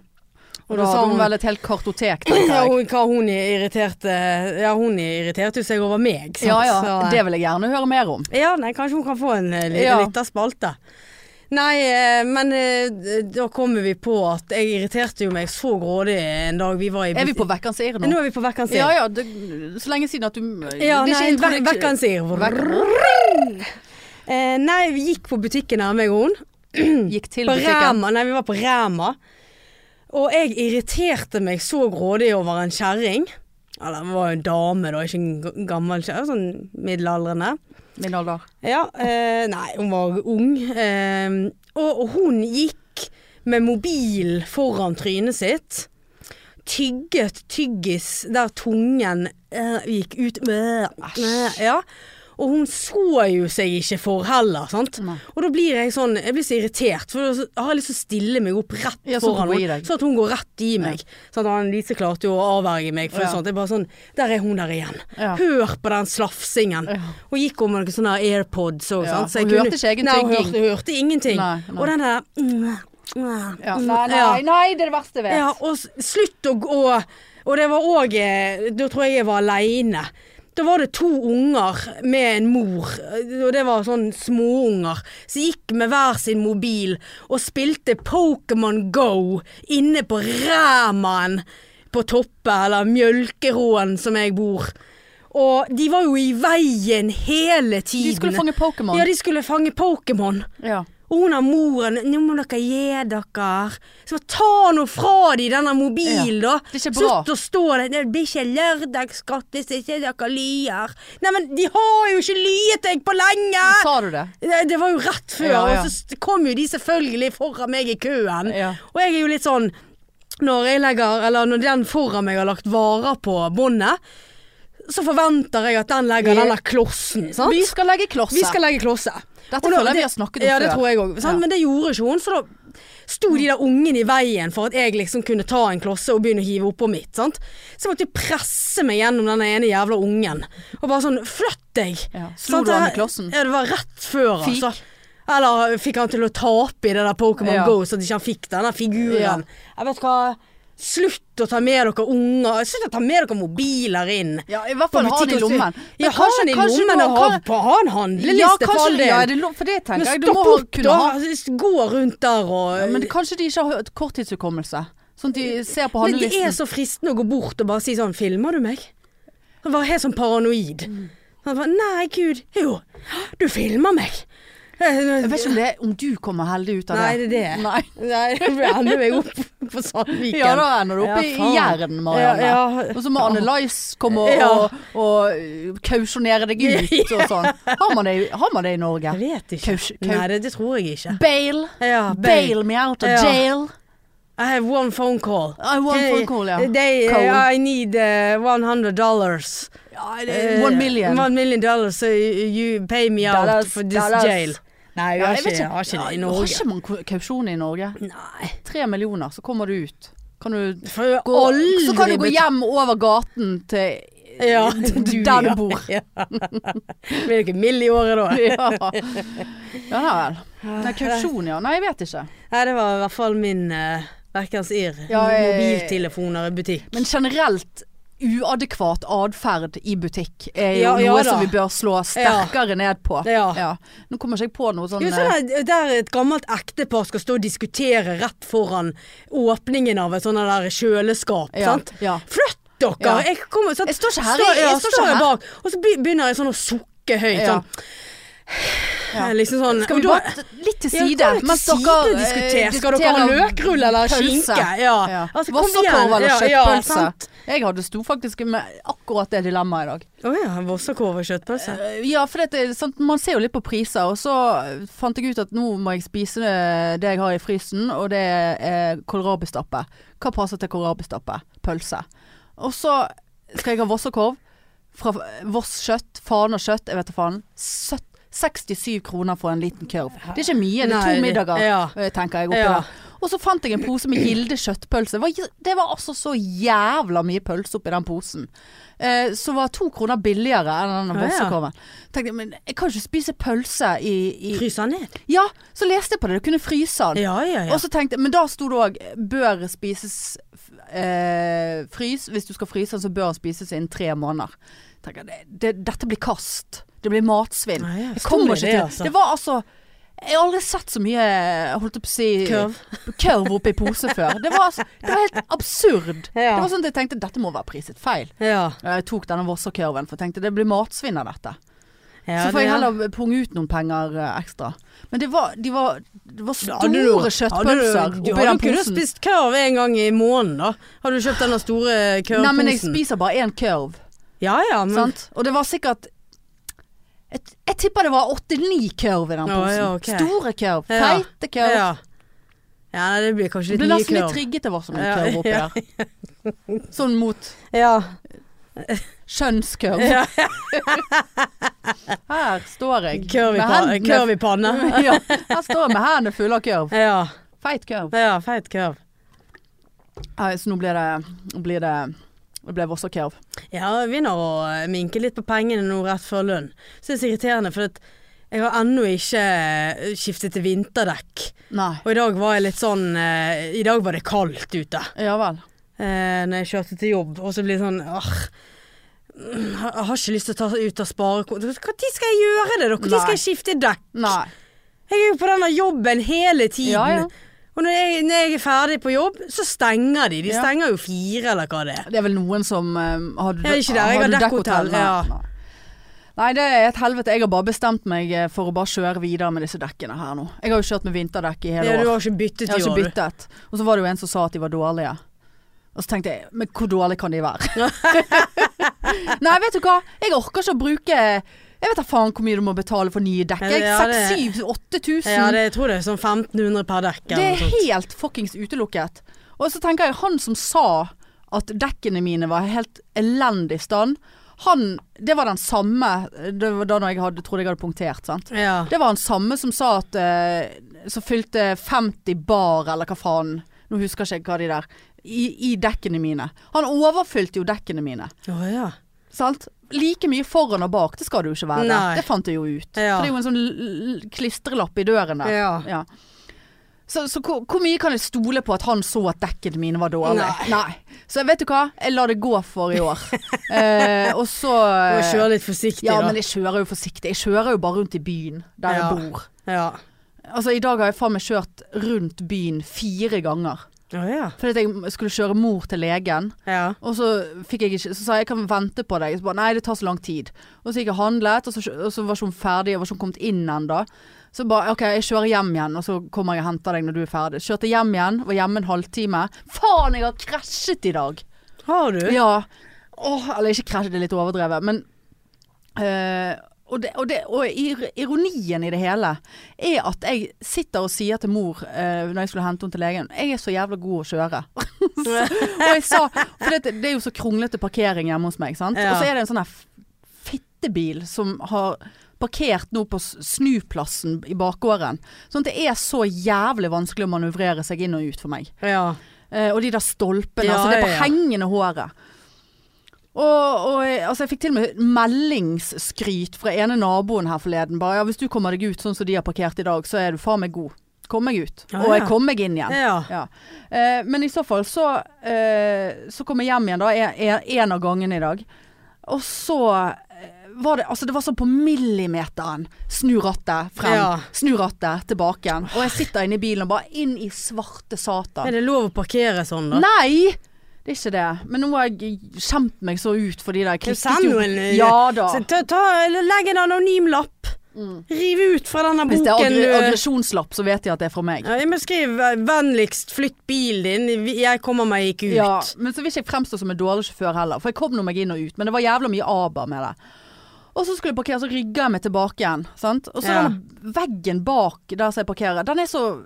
S1: Og da hadde hun vel et helt kartotek, tenker
S2: ja,
S1: jeg.
S2: hun, hva hun irriterte Ja, hun irriterte jo seg over meg. sant?
S1: Ja ja,
S2: Så, eh,
S1: det vil jeg gjerne høre mer om.
S2: Ja, nei, kanskje hun kan få en eh, li-
S1: Ja.
S2: liten spalte. Nei, eh, men eh, da kommer vi på at jeg irriterte jo meg så grådig en dag vi var i
S1: Er vi på Vekkans irr
S2: Nå
S1: nå?
S2: er vi på Vekkans
S1: Ja
S2: Irr.
S1: ja, det, så lenge siden at du eh,
S2: Ja,
S1: det er ikke-
S2: nei, Ve-
S1: jeg tror det ikke-
S2: Vekkans Irr.
S1: Vekk-
S2: Eh, Nei, vi gikk på butikken her, meg og hun.
S1: Gikk til
S2: På
S1: butikken.
S2: Rema. Nei, vi var på Rema. Og jeg irriterte meg så grådig over en kjerring. Eller hun var jo en dame, da, ikke en g- gammel kjerring. Sånn middelaldrende.
S1: Min alder.
S2: Ja, eh, nei, hun var ung. Eh, og, og hun gikk med mobil foran trynet sitt. Tygget tyggis der tungen eh, gikk ut. Øh, øh, ja. Og hun så jo seg ikke for heller, sant.
S1: Nei.
S2: Og da blir jeg sånn, jeg blir så irritert, for da har jeg lyst til å stille meg opp rett
S1: Ja, sånn at hun
S2: foran
S1: går i
S2: henne.
S1: deg.
S2: Sånn at hun går rett i meg. Sånn at Lise klarte jo å avverge meg, for
S1: Ja.
S2: sånn at jeg bare sånn, der er hun der igjen.
S1: Ja.
S2: Hør på den slafsingen.
S1: Ja.
S2: Hun gikk om med noen sånne AirPods og
S1: Ja,
S2: sånn.
S1: hun hørte ikke egen
S2: Nei, hun
S1: tygging.
S2: hørte, hørte ingenting.
S1: Nei, nei.
S2: Og den der mm, mm,
S1: Ja.
S2: mm,
S1: Nei,
S2: ja.
S1: nei, nei, det er det verste jeg vet.
S2: Ja, og s- slutt å gå Og det var òg Da tror jeg jeg var aleine. Da var det to unger med en mor, og det var sånn småunger, som gikk med hver sin mobil og spilte Pokémon Go inne på Ræmaen på Toppe, eller Mjølkeråen som jeg bor. Og de var jo i veien hele tiden.
S1: De skulle fange Pokémon.
S2: Ja, de skulle fange Pokémon.
S1: Ja.
S2: Og hun har moren Nå må dere gi dere Så bare ta nå fra de denne mobilen da
S1: Det er ikke bra.
S2: Slutt å stå der Det blir ikke lørdagsskatt hvis ikke dere lyer Nei, men de har jo ikke lyet deg på lenge
S1: Sa du det?
S2: Nei, Det var jo rett før
S1: Ja, ja.
S2: Og så st- kom jo de selvfølgelig foran meg i køen
S1: Ja.
S2: Og jeg er jo litt sånn Når jeg legger Eller når den foran meg har lagt varer på båndet Så forventer jeg at den legger
S1: Ja.
S2: denne klossen sant?
S1: Vi skal legge klosset.
S2: Vi skal legge klosset.
S1: Dette
S2: Og da-
S1: føler jeg vi
S2: det-
S1: har snakket om
S2: ja,
S1: før.
S2: det tror jeg òg.
S1: Ja.
S2: Men det gjorde ikke hun, så da sto de der ungene i veien for at jeg liksom kunne ta en klosse og begynne å hive oppå mitt. Sant? Så jeg måtte jeg presse meg gjennom den ene jævla ungen. Og bare sånn Flytt deg!
S1: Ja. Slo
S2: Sant?
S1: du han i
S2: Det-
S1: klossen?
S2: Ja, det var rett før,
S1: Fikk?
S2: altså. Eller fikk han til å tape i det der Pokémon
S1: Ja.
S2: Go, så at ikke han fikk denne figuren.
S1: Ja.
S2: Jeg vet hva Slutt å ta med dere unger. Slutt å ta med dere mobiler inn.
S1: Ja, i hvert fall ha det i lommen.
S2: Ja, ha den i lommen og ha, på- ha en handleliste
S1: ja,
S2: for all
S1: kanskje,
S2: del.
S1: ja, er det lov for det
S2: men
S1: tenker jeg. Du
S2: stopp
S1: må ha-
S2: opp,
S1: kunne
S2: da.
S1: ha
S2: Gå rundt der og
S1: Ja, Men
S2: men,
S1: det, kanskje de ikke har hørt korttidshukommelse. Sånn at de ser på
S2: det
S1: handlelisten.
S2: er så fristende å gå bort og bare si sånn 'Filmer du meg?' Han var helt sånn paranoid.
S1: Mm.
S2: Han bare 'Nei, gud. Jo, du filmer meg'. Eh,
S1: jeg vet ikke om, det, er- om du kommer heldig ut av
S2: Nei,
S1: det.
S2: det er det.
S1: Nei.
S2: Nei, jeg ender meg opp på Sandviken.
S1: Ja, da ender du opp i
S2: faen.
S1: Jæren, Marianne.
S2: Ja, ja.
S1: Og så må Anne Lice komme og,
S2: Ja.
S1: og, og kausjonere deg ut og sånn. Har man det, i- har man det i Norge?
S2: Jeg vet ikke.
S1: Kaus- kau-
S2: Nei, det, det tror jeg ikke.
S1: Bail.
S2: Ja,
S1: Bail me out of
S2: Ja.
S1: jail.
S2: I have one phone call.
S1: I want phone call, ja.
S2: Eh, They,
S1: Call.
S2: I need uh, 100 dollars. Eh,
S1: Ja, det- Eh, One million.
S2: One million dollars, so you pay me out
S1: Dollars,
S2: for this
S1: dollars.
S2: jail. Nei, vi
S1: Ja,
S2: har
S1: jeg
S2: ikke,
S1: vet
S2: har ikke det i
S1: Ja, Har
S2: Norge.
S1: ikke man ko- kausjon i Norge?
S2: Nei.
S1: Tre millioner, så kommer du ut. Kan du
S2: For jeg har
S1: gå,
S2: aldri
S1: så kan du gå
S2: blitt-
S1: hjem over gaten til
S2: ja,
S1: der du bor.
S2: Ja. Blir det ikke mild i året da?
S1: Ja, ja da vel. Nei, kausjon, ja. Nei, jeg vet ikke.
S2: Nei, det var i hvert fall min uh, verkens irr.
S1: Ja, jeg-
S2: Mobiltelefoner i butikk.
S1: Men generelt uadekvat atferd i butikk er jo
S2: Ja, ja
S1: noe
S2: da.
S1: som vi bør slå sterkere ned på.
S2: Ja.
S1: Ja. Nå kommer ikke jeg på noe sånn
S2: Jo,
S1: eh,
S2: sånn der, der et gammelt ektepar skal stå og diskutere rett foran åpningen av et sånt der kjøleskap.
S1: ja,
S2: sant?
S1: ja.
S2: Flytt dere!
S1: Ja.
S2: Jeg, kommer, så,
S1: Jeg står ikke her, jeg-
S2: Står,
S1: jeg
S2: ja,
S1: står
S2: står
S1: ikke her.
S2: bak, og så be- begynner jeg sånn å sukke høyt.
S1: Ja.
S2: Sånn.
S1: Ja.
S2: Liksom sånn.
S1: Skal vi
S2: og da-
S1: bare t- litt til
S2: Ja,
S1: side?
S2: hva er det
S1: mens
S2: til side
S1: dere, eh,
S2: diskuterer? Skal dere ha
S1: diskuterer
S2: løkrull eller
S1: pølse?
S2: skinke? Ja.
S1: Ja.
S2: Altså, kom igjen.
S1: Vossakorv eller
S2: Ja, ja,
S1: kjøttpølse?
S2: sant.
S1: jeg hadde sto faktisk med akkurat det dilemmaet i dag.
S2: Å ja, vossakorv og kjøttpølse.
S1: Eh, Ja, for dette, er sant, man ser jo litt på priser, og så fant jeg ut at nå må jeg spise det- det jeg har i frysen, og det er kålrabistappe. Hva passer til kålrabistappe? Pølse. Og så skal jeg ha vossakorv fra Voss kjøtt, Fana kjøtt, jeg vet da faen. Søtt- 67 kroner for en liten kurv. Det er ikke mye, det er
S2: Nei,
S1: to middager,
S2: ja.
S1: eh, tenker jeg oppi
S2: Ja.
S1: der. Og så fant jeg en pose med Gilde kjøttpølse. Det var- Det var altså så jævla mye pølse oppi den posen. Eh, som var to kroner billigere enn den
S2: Ah, ja.
S1: vossekorven. Tenkte jeg, men jeg kan jo ikke spise pølse i, i
S2: Frys den ned.
S1: Ja, så leste jeg på det, du kunne fryse den.
S2: Ja, ja, ja.
S1: Og så tenkte jeg, Men da sto det òg 'bør spises eh, frys'. Hvis du skal fryse den, så bør den spises innen tre måneder. Tenker jeg, det, det, dette blir kast. Det blir matsvinn.
S2: Nei, ja,
S1: jeg
S2: sto
S1: kommer
S2: det
S1: ikke
S2: det,
S1: til
S2: altså?
S1: Det var altså Jeg har aldri sett så mye jeg holdt jeg på å si
S2: Kurv.
S1: kurv oppi pose før. Det var, altså, det var helt absurd.
S2: Ja.
S1: Det var sånn at jeg tenkte dette må være priset feil.
S2: Ja.
S1: Jeg tok denne Vossakurven, for jeg tenkte det blir matsvinn av dette.
S2: Ja,
S1: Så får
S2: det-
S1: jeg heller punge ut noen penger eh, ekstra. Men det var, de var, det var
S2: Ja,
S1: store
S2: hadde du- hadde
S1: kjøttpølser
S2: du-
S1: oppi
S2: Du
S1: den
S2: hadde kunnet
S1: posen.
S2: spist kurv en gang i måneden, da. Hadde du kjøpt den store kurvposen?
S1: Nei, men jeg spiser bare én kurv,
S2: Ja ja, men
S1: sant. Og det var sikkert Jeg, jeg tipper det var åtte-ni kurv i den
S2: Å,
S1: posen.
S2: ja, ok.
S1: Store kurv,
S2: Ja.
S1: feite kurv.
S2: Ja. ja, nei, det blir kanskje
S1: Jeg
S2: litt
S1: ble
S2: mye
S1: nesten litt
S2: kurv.
S1: trigget av hva som
S2: Ja,
S1: var kurv oppi
S2: ja.
S1: der. Sånn mot
S2: Ja.
S1: kjønnskurv.
S2: Ja.
S1: Her står jeg
S2: Kurv i,
S1: med
S2: pa
S1: hendene- Mm.
S2: kurv i panna.
S1: ja, her står jeg med hendene fulle av kurv.
S2: Ja.
S1: Feit kurv.
S2: ja, feit kurv.
S1: Nei, så nå blir det, blir det, det blir Vossakurv.
S2: Ja, jeg begynner å eh, minke litt på pengene nå rett før lønn. Så det er så irriterende, for at jeg har ennå ikke eh, skiftet til vinterdekk.
S1: Nei.
S2: Og i dag var jeg litt sånn eh, I dag var det kaldt ute
S1: Ja vel.
S2: eh, når jeg kjørte til jobb, og så blir det sånn Arr. mm, Jeg har ikke lyst til å ta ut av sparekonto. Når skal jeg gjøre det, da? Når
S1: Nei.
S2: skal jeg skifte dekk?
S1: Nei.
S2: Jeg er jo på denne jobben hele tiden.
S1: Ja, ja.
S2: Og når jeg, når jeg er ferdig på jobb, så stenger de. De
S1: Ja.
S2: stenger jo fire, eller hva det er.
S1: Det er vel noen som um, har du-
S2: Ja, ikke der. Jeg har
S1: du
S2: dekkhotell,
S1: Nei,
S2: ja.
S1: Nei. Nei, det er et helvete. Jeg har bare bestemt meg eh, for å bare kjøre videre med disse dekkene her nå. Jeg har jo kjørt med vinterdekk i hele
S2: Ja, du
S1: år.
S2: har ikke byttet
S1: Jeg har
S2: i
S1: ikke
S2: år, du.
S1: byttet. Og så var det jo en som sa at de var dårlige. Og så tenkte jeg, men hvor dårlige kan de være? Nei, vet du hva? Jeg orker ikke å bruke Jeg vet da faen hvor mye du må betale for nye dekk. Jeg
S2: Ja, det-
S1: 6000-8000.
S2: Ja, det, jeg tror det er sånn 1500 per dekk.
S1: Det
S2: eller
S1: er
S2: noe sånt.
S1: helt fuckings utelukket. Og så tenker jeg, han som sa at dekkene mine var i helt elendig stand, han Det var den samme Det var da når jeg hadde, trodde jeg hadde punktert, sant.
S2: Ja.
S1: Det var han samme som sa at eh, Som fylte 50 bar, eller hva faen. Nå husker ikke jeg hva de der I, i dekkene mine. Han overfylte jo dekkene mine.
S2: Å ja.
S1: Sant? Like mye foran og bak, det skal det jo ikke være.
S2: Nei.
S1: Det fant jeg jo ut.
S2: Ja.
S1: For det er jo en sånn l- l- klistrelapp i døren der.
S2: Ja.
S1: Ja. Så, så hvor, hvor mye kan jeg stole på at han så at dekkene mine var dårlige?
S2: Nei.
S1: Så vet du hva, jeg lar det gå for i år. eh, og så eh,
S2: Du må kjøre litt forsiktig,
S1: Ja,
S2: da.
S1: men jeg kjører jo forsiktig. Jeg kjører jo bare rundt i byen der
S2: Ja.
S1: jeg bor.
S2: Ja.
S1: Altså, i dag har jeg faen meg kjørt rundt byen fire ganger.
S2: Å ja.
S1: Fordi at jeg skulle kjøre mor til legen.
S2: ja.
S1: Og så fikk jeg ikke Så sa jeg jeg kan vente på deg. Så bare, Nei, det tar så lang tid. Og så gikk jeg og handlet, og så, og så var ikke hun ferdig, og var ikke hun kommet inn ennå. Så bare OK, jeg kjører hjem igjen, og så kommer jeg og henter deg når du er ferdig. Kjørte hjem igjen, var hjemme en halvtime. Faen, jeg har krasjet i dag!
S2: Har du?
S1: Ja. Åh, eller ikke krasjet, det er litt overdrevet, men eh, og, det, og, det, og ir- ironien i det hele er at jeg sitter og sier til mor eh, når jeg skulle hente henne til legen Jeg er så jævla god å kjøre. så, og jeg sa For det, det er jo så kronglete parkering hjemme hos meg, sant.
S2: Ja.
S1: Og så er det en sånn her f- fittebil som har parkert nå på s- snuplassen i bakgården. Sånn at det er så jævlig vanskelig å manøvrere seg inn og ut for meg.
S2: Ja.
S1: Eh, og de der stolpene.
S2: Ja,
S1: altså det er på
S2: ja, ja.
S1: hengende håret. Og, og jeg- altså jeg fikk til og med meldingsskryt fra ene naboen her forleden. Bare ja, hvis du kommer deg ut sånn som de har parkert i dag, så er du faen meg god. Kom meg ut.
S2: Ja,
S1: Og jeg
S2: ja.
S1: kom meg inn igjen.
S2: Ja.
S1: Ja. Eh, men i så fall så, eh, så kom jeg hjem igjen da, en- en- en av gangene i dag. Og så eh, var det altså det var sånn på millimeteren. Snu rattet frem,
S2: Ja.
S1: snu rattet tilbake igjen. Og jeg sitter inne i bilen og bare inn i svarte satan.
S2: Er det lov å parkere sånn, da?
S1: Nei! Det er ikke det. Men nå har jeg kjent meg så ut for de der
S2: Send
S1: klikket
S2: noen eh,
S1: Ja da.
S2: så ta, ta, Legg en anonym lapp.
S1: Mm.
S2: Riv ut fra denne
S1: Hvis det er
S2: boken. eh,
S1: aggre
S2: du-
S1: aggresjonslapp, så vet jeg at det er fra meg.
S2: Ja, jeg må skrive eh, 'vennligst flytt bilen din, Vi- jeg kommer meg ikke ut'.
S1: Ja, men så vil ikke jeg fremstå som en dårlig sjåfør heller, for jeg kom nå meg inn og ut, men det var jævla mye aber med det. Og så skulle jeg parkere, så rygger jeg meg tilbake igjen, sant. Og så
S2: Ja.
S1: denne veggen bak der som jeg parkerer, den er så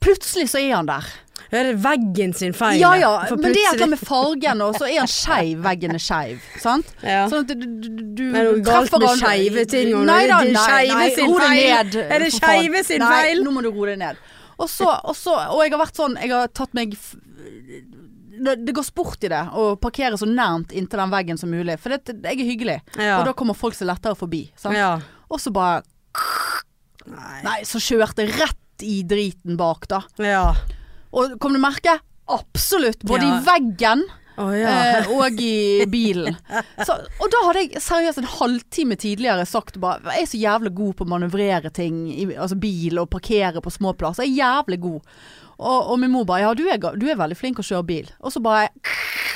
S1: Plutselig så er han der.
S2: Det er veggen sin feil.
S1: Ja ja,
S2: For
S1: men det er noe
S2: plutselig-
S1: med fargen, og så er han skeiv, veggen er skeiv, sant.
S2: ja.
S1: Sånn at du, du, du- du
S2: Er det noe galt
S1: treffer
S2: med
S1: han-
S2: skeive ting, og
S1: Nei
S2: det-
S1: da,
S2: det er
S1: nei,
S2: skeive
S1: nei,
S2: sin
S1: ro deg
S2: feil.
S1: ned.
S2: Er det
S1: for faen.
S2: skeive sin
S1: nei,
S2: feil?
S1: Nå må du roe deg ned. Og så, og så, og jeg har vært sånn, jeg har tatt meg f- det, det går sport i det å parkere så nærmt inntil den veggen som mulig. For det, jeg er hyggelig,
S2: Ja.
S1: og da kommer folk så lettere forbi. Sant?
S2: ja.
S1: Og så bare
S2: Nei.
S1: Nei, så kjørte jeg rett i driten bak, da.
S2: Ja.
S1: Og kom du merke? Absolutt! Både
S2: Ja.
S1: i veggen
S2: Å ja.
S1: eh, og i bilen. Så, og da hadde jeg seriøst en halvtime tidligere sagt bare Jeg er så jævlig god på å manøvrere ting, i, altså bil, og parkere på små plasser. Jeg er jævlig god. Og, og min mor bare Ja, du er, ga- du er veldig flink å kjøre bil. Og så bare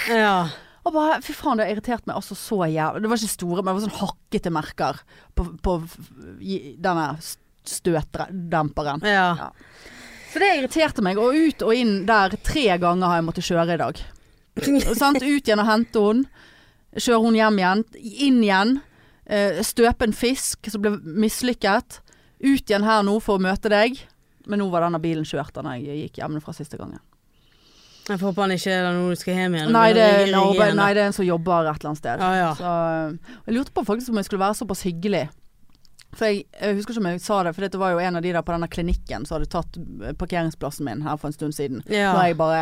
S2: ja.
S1: og bare, Fy faen, det har irritert meg altså så jævlig. Det var ikke store, men det var sånn hakkete merker på, på i- denne støtdemperen.
S2: ja.
S1: Så det irriterte meg. Og ut og inn der tre ganger har jeg måttet kjøre i dag. Og sant? Ut igjen og hente henne. Kjøre henne hjem igjen. Inn igjen. Eh, Støpe en fisk som ble mislykket. Ut igjen her nå for å møte deg. Men nå var denne bilen kjørt da jeg gikk hjemmefra siste gangen.
S2: Jeg får håpe han ikke er der nå du skal hjem igjen.
S1: Nei,
S2: Men
S1: det,
S2: jeg
S1: er en
S2: ringer
S1: arbeid,
S2: igjen,
S1: nei, det er en som jobber et eller annet
S2: da.
S1: sted.
S2: Ja, ja.
S1: Så, øh, jeg lurte på faktisk om jeg skulle være såpass hyggelig. For jeg, jeg husker ikke om jeg sa det, for dette var jo en av de der på denne klinikken som hadde tatt øh, parkeringsplassen min her for en stund siden.
S2: Ja.
S1: Når jeg bare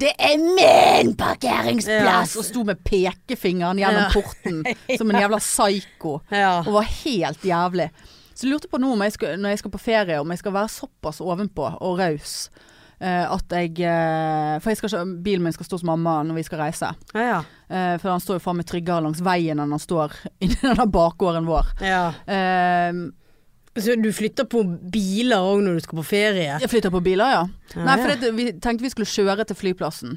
S1: Det er min parkeringsplass!
S2: Ja.
S1: Og sto med pekefingeren gjennom
S2: Ja.
S1: porten som en jævla psyko.
S2: Ja.
S1: Og var helt jævlig. Så jeg lurte på nå om jeg skal, når jeg skal på ferie, om jeg skal være såpass ovenpå og raus. eh, at jeg eh, For jeg skal ikke, bilen min skal stå hos mamma når vi skal reise.
S2: Ja, ja.
S1: Eh, for han står jo faen meg tryggere langs veien enn han står inni denne bakgården vår.
S2: ja.
S1: Eh,
S2: Så du flytter på biler òg når du skal på ferie?
S1: jeg flytter på biler, ja.
S2: Ja,
S1: Nei,
S2: ja.
S1: for det, vi tenkte vi skulle kjøre til flyplassen.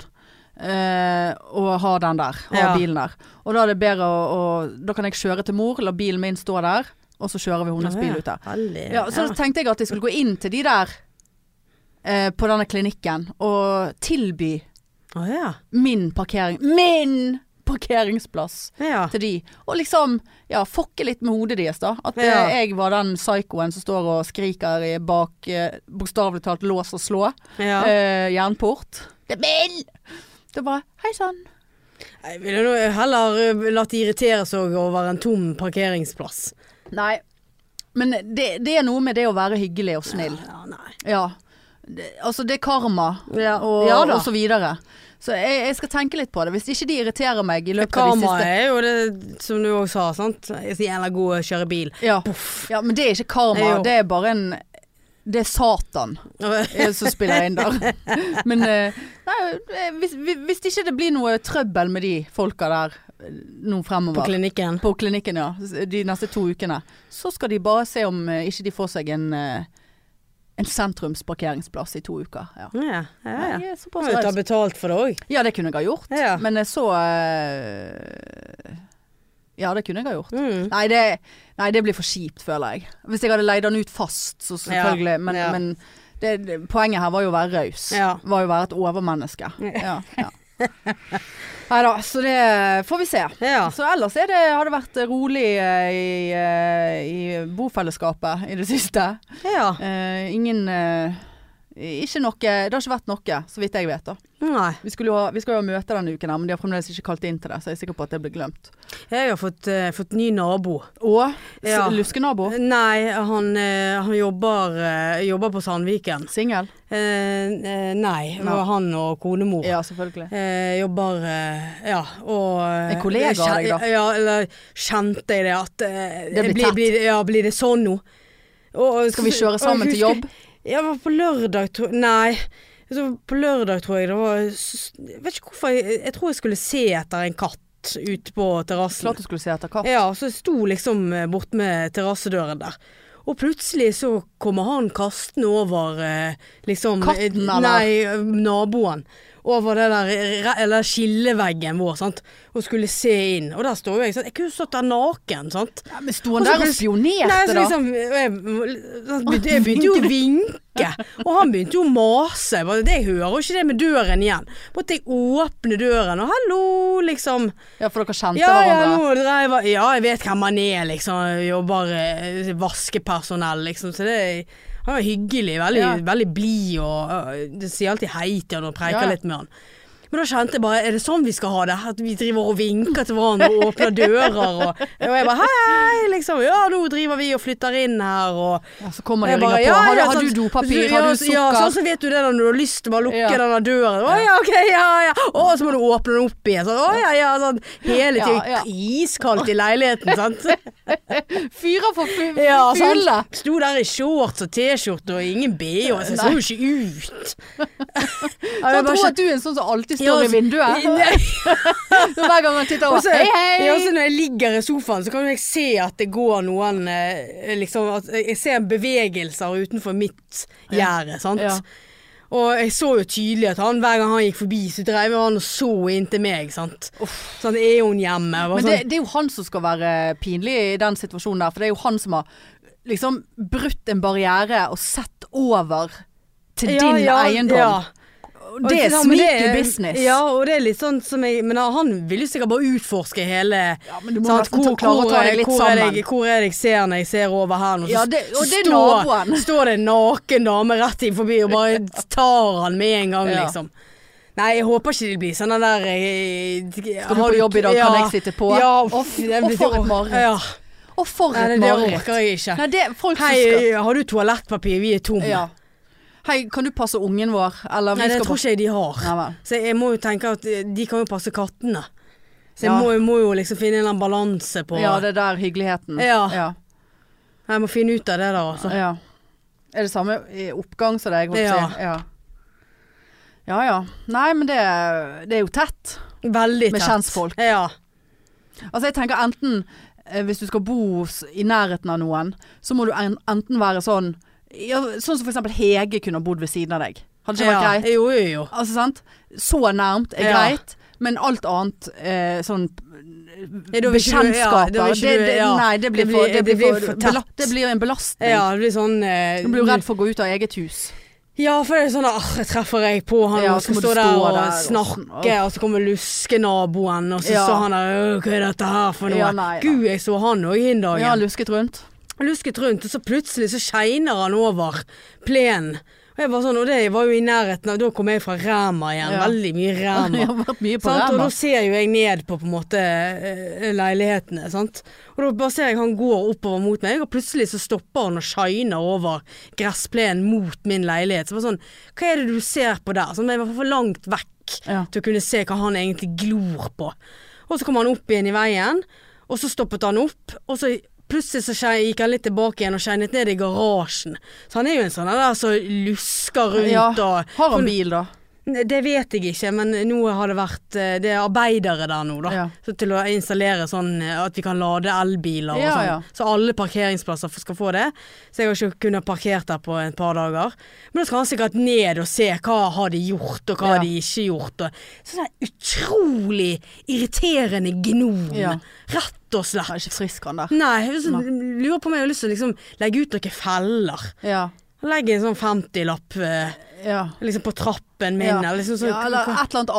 S1: eh, og ha den der. Ha
S2: Ja.
S1: bilen der. Og da er det bedre å, å Da kan jeg kjøre til mor, la bilen min stå der, og så kjører vi hennes bil ut der.
S2: Veldig.
S1: Ja, så
S2: ja.
S1: tenkte jeg at jeg skulle gå inn til de der eh, på denne klinikken og tilby
S2: Å, ja.
S1: min parkering. Min parkeringsplass!
S2: Ja.
S1: til de. Og liksom ja, fokke litt med hodet deres, da. At eh,
S2: Ja.
S1: jeg var den psykoen som står og skriker i bak eh, bokstavelig talt lås og slå.
S2: ja.
S1: Eh, jernport. Det er min! Det var hei sann.
S2: Jeg ville nå heller eh, latt de irritere seg over en tom parkeringsplass.
S1: Nei. Men det, det er noe med det å være hyggelig og snill.
S2: Ja, nei.
S1: Ja. Det, altså, det er karma
S2: Ja,
S1: og,
S2: ja da.
S1: og så videre. Så jeg, jeg skal tenke litt på det. Hvis ikke de irriterer meg i løpet av de
S2: Karma
S1: siste
S2: er jo det som du òg sa, sant. Jeg er så jævla god å kjøre bil.
S1: ja.
S2: Poff.
S1: ja, men det er ikke karma.
S2: Det er jo-
S1: Det er bare en Det er Satan. eh, som spiller inn der. Men eh, nei, eh, hvis, hvis- hvis ikke det blir noe trøbbel med de folka der eh, nå
S2: På
S1: fremover.
S2: klinikken.
S1: På klinikken, ja. s- De neste to ukene. Så skal de bare se om eh, ikke de får seg en, eh, en sentrumsparkeringsplass i to uker. Ja.
S2: Ja, ja, ja.
S1: Nei, jeg er
S2: Du
S1: såpass
S2: må jo ta
S1: raus.
S2: betalt for det òg.
S1: ja, det kunne jeg ha gjort.
S2: Ja.
S1: Men jeg så eh, Ja, det kunne jeg ha gjort.
S2: Mm.
S1: Nei det, nei, det blir for kjipt, føler jeg. Hvis jeg hadde leid den ut fast, så selvfølgelig. men
S2: ja.
S1: men det, det, poenget her var jo å være raus.
S2: Ja.
S1: Var jo å være et overmenneske. Ja, ja. Nei da, så det eh, får vi se.
S2: Ja.
S1: Så ellers er det, har det vært rolig eh, i, eh, i bofellesskapet i det siste.
S2: ja.
S1: Eh, ingen eh, Ikke noe Det har ikke vært noe, så vidt jeg vet. da
S2: Nei.
S1: Vi, skulle jo ha, vi skal jo ha møte denne uken, her, men de har fremdeles ikke kalt inn til det, så jeg er sikker på at det blir glemt.
S2: Jeg har fått, eh, fått ny nabo.
S1: Og
S2: Ja.
S1: s- luskenabo.
S2: Nei, han, eh, han jobber, eh, jobber på Sandviken.
S1: Singel?
S2: Eh, eh, nei,
S1: Nei.
S2: det var han og konemor.
S1: Ja, selvfølgelig.
S2: Eh, jobber eh, ja, og eh,
S1: En kollega av
S2: kjen-
S1: deg, da?
S2: Ja, eller kjente jeg det at eh,
S1: Det blir tett.
S2: blir, ja, blir det sånn nå? Og-
S1: Skal vi kjøre
S2: og
S1: sammen til
S2: husker-
S1: jobb?
S2: Ja, men på lørdag tror Nei. Så på lørdag tror jeg det var s- Jeg vet ikke hvorfor. Jeg, jeg tror jeg skulle se etter en katt ute på terrassen.
S1: Klart du skulle se etter katt.
S2: Ja, så jeg sto liksom eh, bort med terrassedøren der. Og plutselig så kommer han kastende over eh, liksom
S1: Katten, eller?
S2: Nei, naboen. Over det der, eh, re- eller skilleveggen vår, sant. Og skulle se inn. Og der står jo jeg, sant. Jeg kunne jo stått der naken, sant.
S1: Ja, men sto han
S2: Og så
S1: der og
S2: plutselig-
S1: spionerte,
S2: Nei, så
S1: da?
S2: liksom, og jeg, jeg, begynte, jeg begynte jo å vinke, og han begynte jo å mase. Jeg Bare, det jeg hører jo ikke det med døren igjen. Måtte jeg åpne døren, og hallo, liksom.
S1: Ja, for dere kjente
S2: Ja, ja,
S1: hverandre?
S2: nå dreiv han- ja, jeg vet hvem han er, liksom. Jeg Jobber eh, vaskepersonell, liksom. Så det er, han er hyggelig, veldig,
S1: Ja.
S2: veldig blid, og øh, det sier alltid hei til han og
S1: Ja,
S2: preiker
S1: ja.
S2: litt med han. Men da kjente jeg bare, er det sånn vi skal ha det? At vi driver og vinker til hverandre og åpner dører og Og jeg bare hei, hei, liksom. Ja, nå driver vi og flytter inn her og
S1: Ja, så kommer de
S2: jeg
S1: og ringer på.
S2: bare, ja,
S1: har, du,
S2: ja,
S1: har
S2: sånn-
S1: du dopapir?
S2: ja,
S1: har du
S2: så-
S1: sukker?
S2: Ja, sånn så vet du det da, når du har lyst til å bare lukke
S1: Ja.
S2: denne døren. Å ja, ok, ja, ja. Å, så må du åpne den opp igjen. Sånn, å ja, ja. Sånn hele
S1: Ja,
S2: tiden.
S1: ja.
S2: Iskaldt i leiligheten, sant.
S1: sånn- Fyrer for fu
S2: Ja,
S1: fulle!
S2: sant. Sto der i shorts og T-skjorte og ingen BH. altså, Så jeg så jo ikke ut. Ja,
S1: Så
S2: jeg
S1: han
S2: bare
S1: tror
S2: kjente-
S1: at du er en sånn som alltid står
S2: Ja, altså,
S1: i vinduet. Så Hver gang han titter
S2: Og
S1: over.
S2: så-
S1: Hei, hei!
S2: Ja, og så når jeg ligger i sofaen, så kan jo jeg se at det går noen eh, liksom, at Jeg ser bevegelser utenfor mitt gjerde, sant.
S1: Ja.
S2: Og jeg så jo tydelig at han, hver gang han gikk forbi, så dreiv han og så inn til meg, sant. Sånn, er hun hjemme? Og
S1: Men
S2: sånn,
S1: det, det er jo han som skal være pinlig i den situasjonen der, for det er jo han som har liksom brutt en barriere og sett over til
S2: Ja,
S1: din
S2: ja,
S1: eiendom.
S2: ja.
S1: Og Det er
S2: Ja, men det
S1: sneaky
S2: er-
S1: business.
S2: Ja, og det er litt sånn som jeg Men han vil jo sikkert bare utforske hele
S1: Ja, men du må
S2: sant,
S1: nesten ta- klare å ta deg litt
S2: hvor er det
S1: sammen.
S2: jeg, hvor er det jeg ser når jeg ser over her nå? Så
S1: Ja, det- og det er
S2: står-
S1: naboen.
S2: Står det en naken dame rett inn forbi og bare tar han med en gang,
S1: Ja.
S2: liksom. Nei, jeg håper ikke det blir sånn den der eh,
S1: du
S2: har
S1: på jobb i dag? Kan jeg sitte på?
S2: Ja,
S1: Å,
S2: uff,
S1: fy-
S2: den
S1: å,
S2: blir-
S1: for et mareritt.
S2: Ja.
S1: Og for
S2: Nei,
S1: et
S2: det
S1: mareritt.
S2: orker jeg ikke.
S1: Nei, det er folk
S2: Hei,
S1: som skal
S2: har du toalettpapir? Vi er tomme.
S1: ja. Hei, kan du passe ungen vår? Eller vi
S2: Nei, det
S1: skal
S2: tror ikke jeg de har.
S1: Nei vel.
S2: Så jeg må jo tenke at eh, de kan jo passe kattene. Så jeg
S1: Ja.
S2: må, jeg må jo liksom finne en eller annen balanse på
S1: Ja, det er der hyggeligheten.
S2: Ja.
S1: ja.
S2: Jeg må finne ut av det der, altså.
S1: Ja. Er det samme i oppgang som deg? holdt jeg
S2: Ja.
S1: på å si? ja. Ja ja. Nei, men det, det er jo tett.
S2: Veldig tett.
S1: Med kjentfolk.
S2: Ja.
S1: Altså jeg tenker enten eh, hvis du skal bo s- i nærheten av noen, så må du en, enten være sånn ja, Sånn som for eksempel Hege kunne ha bodd ved siden av deg. Hadde ikke vært
S2: ja.
S1: greit?
S2: Jo, jo, jo.
S1: Altså sant? Så nærmt er
S2: Ja.
S1: greit, men alt annet eh, sånn
S2: Ja, da vil ikke du- ja,
S1: Bekjentskaper.
S2: da vil ikke
S1: det,
S2: du-
S1: det,
S2: ja.
S1: Nei, det blir
S2: Det
S1: for,
S2: blir-
S1: det
S2: det
S1: blir
S2: blir
S1: for,
S2: for tett.
S1: bela- det blir en belastning.
S2: Ja, det blir sånn eh,
S1: Du blir jo redd for å gå ut av eget hus.
S2: Ja, for det er sånn ah, treffer jeg på han
S1: Ja,
S2: og
S1: så
S2: skal
S1: må du
S2: stå
S1: stå
S2: der og
S1: der og
S2: snakke,
S1: sånn,
S2: og, så kommer luskenaboen, og så
S1: Ja.
S2: står han der «Åh, Hva er dette her for noe?
S1: Ja, nei, nei.
S2: Gud, jeg så han òg en dag.
S1: Ja, lusket rundt.
S2: lusket rundt, og så plutselig så shiner han over plenen. Og jeg var sånn, og det var jo i nærheten av, da kom jeg fra Ræma igjen,
S1: Ja.
S2: veldig mye Ræma.
S1: Jeg har vært mye på
S2: Sant? Og
S1: Rema.
S2: da ser jo jeg ned på på en måte eh, leilighetene, sant. Og da bare ser jeg han går oppover mot meg, og plutselig så stopper han og shiner over gressplenen mot min leilighet. Så bare sånn, hva er det du ser på der? Sånn, jeg var for langt vekk
S1: Ja.
S2: til å kunne se hva han egentlig glor på. Og så kom han opp igjen i veien, og så stoppet han opp, og så plutselig så skje- gikk han litt tilbake igjen og skeinet ned i garasjen. Så han er jo en sånn der som lusker rundt
S1: Ja.
S2: og sånn
S1: Har han bil, da?
S2: Ne, Det vet jeg ikke, men nå har det vært eh, Det er arbeidere der nå, da.
S1: Ja.
S2: Så til å installere sånn eh, at vi kan lade elbiler og
S1: Ja,
S2: sånn.
S1: ja.
S2: Så alle parkeringsplasser f- skal få det. Så jeg har ikke kunnet parkert der på et par dager. Men da skal han sikkert ned og se hva har de gjort, og hva
S1: Ja.
S2: har de ikke gjort. Og sånn der utrolig irriterende gnom.
S1: Ja.
S2: Rett og slett.
S1: Han er ikke frisk, han der.
S2: Nei, jeg så- lurer på om jeg har lyst til å liksom legge ut noen feller.
S1: Ja.
S2: Legge en sånn 50-lapp eh,
S1: ja.
S2: liksom på trappen min,
S1: Ja.
S2: eller liksom sånn
S1: ja, eller et eller annet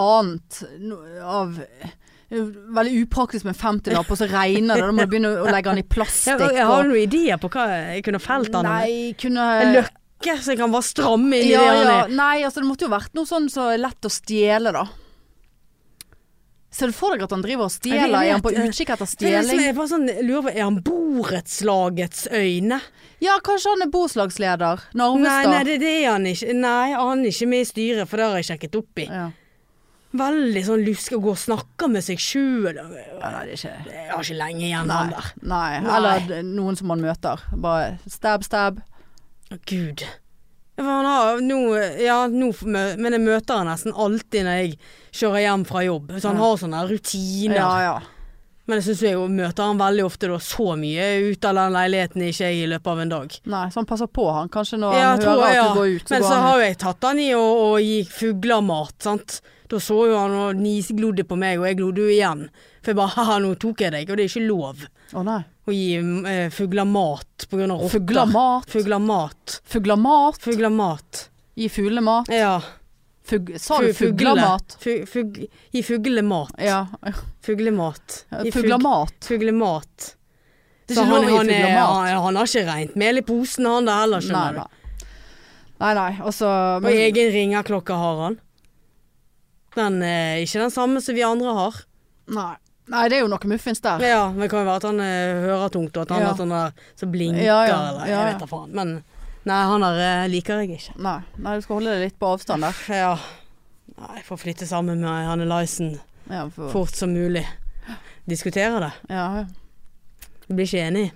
S1: annet no- av det er jo Veldig upraktisk med en 50-lapp, og så regner det, da må du begynne å legge den i
S2: Jeg,
S1: plastikk.
S2: jeg har noen ideer på hva jeg kunne felt
S1: og,
S2: han med.
S1: nei, kunne
S2: En løkke, så jeg kan bare stramme inn i
S1: ja,
S2: det han
S1: ja,
S2: er.
S1: Nei, altså det måtte jo vært noe sånn så er lett å stjele, da. Ser du for deg at han driver og
S2: Jeg
S1: stjeler?
S2: vet-
S1: Er han på utkikk etter
S2: Det er liksom,
S1: stjeling?
S2: jeg bare sånn, lurer på, er han borettslagets øyne?
S1: Ja, kanskje han er borettslagsleder?
S2: Nei, nei,
S1: Narvestad?
S2: det, det er han ikke. Nei, han er ikke med i styret, for det har jeg sjekket opp i.
S1: Ja.
S2: Veldig sånn luske og gå og snakke med seg sjøl. Jeg
S1: Ja, nei, det er ikke
S2: har ikke lenge igjen, han der.
S1: Nei.
S2: Nei.
S1: Eller d- noen som man møter. Bare stab, stab.
S2: Å, Gud. For han har nå Ja, nå f- mø- men jeg møter han nesten alltid når jeg kjører hjem fra jobb. Så han
S1: Ja.
S2: har sånne rutiner.
S1: Ja, ja.
S2: Men jeg syns jeg jo møter han veldig ofte da, så mye ute av den leiligheten ikke jeg i løpet av en dag.
S1: Nei, så han passer på han kanskje når
S2: Ja,
S1: han
S2: tror
S1: hører
S2: jeg, ja.
S1: at du går ut. Så
S2: Men
S1: går
S2: så
S1: han
S2: har jo jeg tatt han i å, å gi fugler mat, sant. Da så jo han og nisglodde på meg, og jeg glodde jo igjen. For jeg bare haha, nå tok jeg deg, og det er ikke lov
S1: ut. Å nei.
S2: å gi eh, fugler mat på grunn av rotter.
S1: Fugler mat.
S2: Fugler mat.
S1: Fugler mat.
S2: Fugler mat.
S1: Gi fuglene mat.
S2: Ja.
S1: Fug, sa du
S2: Fu-
S1: fugler mat?
S2: Fu- fug- Gi fuglene mat.
S1: Ja.
S2: Fuglemat. Gi
S1: Fugler
S2: fug-
S1: mat.
S2: Fuglemat.
S1: Det er
S2: Så
S1: ikke
S2: han,
S1: lov å gi
S2: han, er,
S1: fugler mat.
S2: han, han har ikke rent mel i posen, han der heller,
S1: Nei,
S2: skjønner du.
S1: nei. Nei, nei, altså
S2: Og egen ringeklokke har han. Den er ikke den samme som vi andre har.
S1: nei. nei, det er jo noe muffins der.
S2: Ja, men det kan jo være at han eh, hører tungt, og at han
S1: Ah. Ja.
S2: har sånn der som blinker,
S1: Ja, ja,
S2: eller
S1: ja,
S2: jeg
S1: ja.
S2: vet da faen. Men nei, han der eh, liker jeg ikke.
S1: Nei, nei, du skal holde deg litt på avstand der.
S2: Ja. Nei, jeg får flytte sammen med Hanne Lyson
S1: Ja, for,
S2: fort som mulig. Diskutere det.
S1: ja, ja.
S2: Jeg blir ikke enig.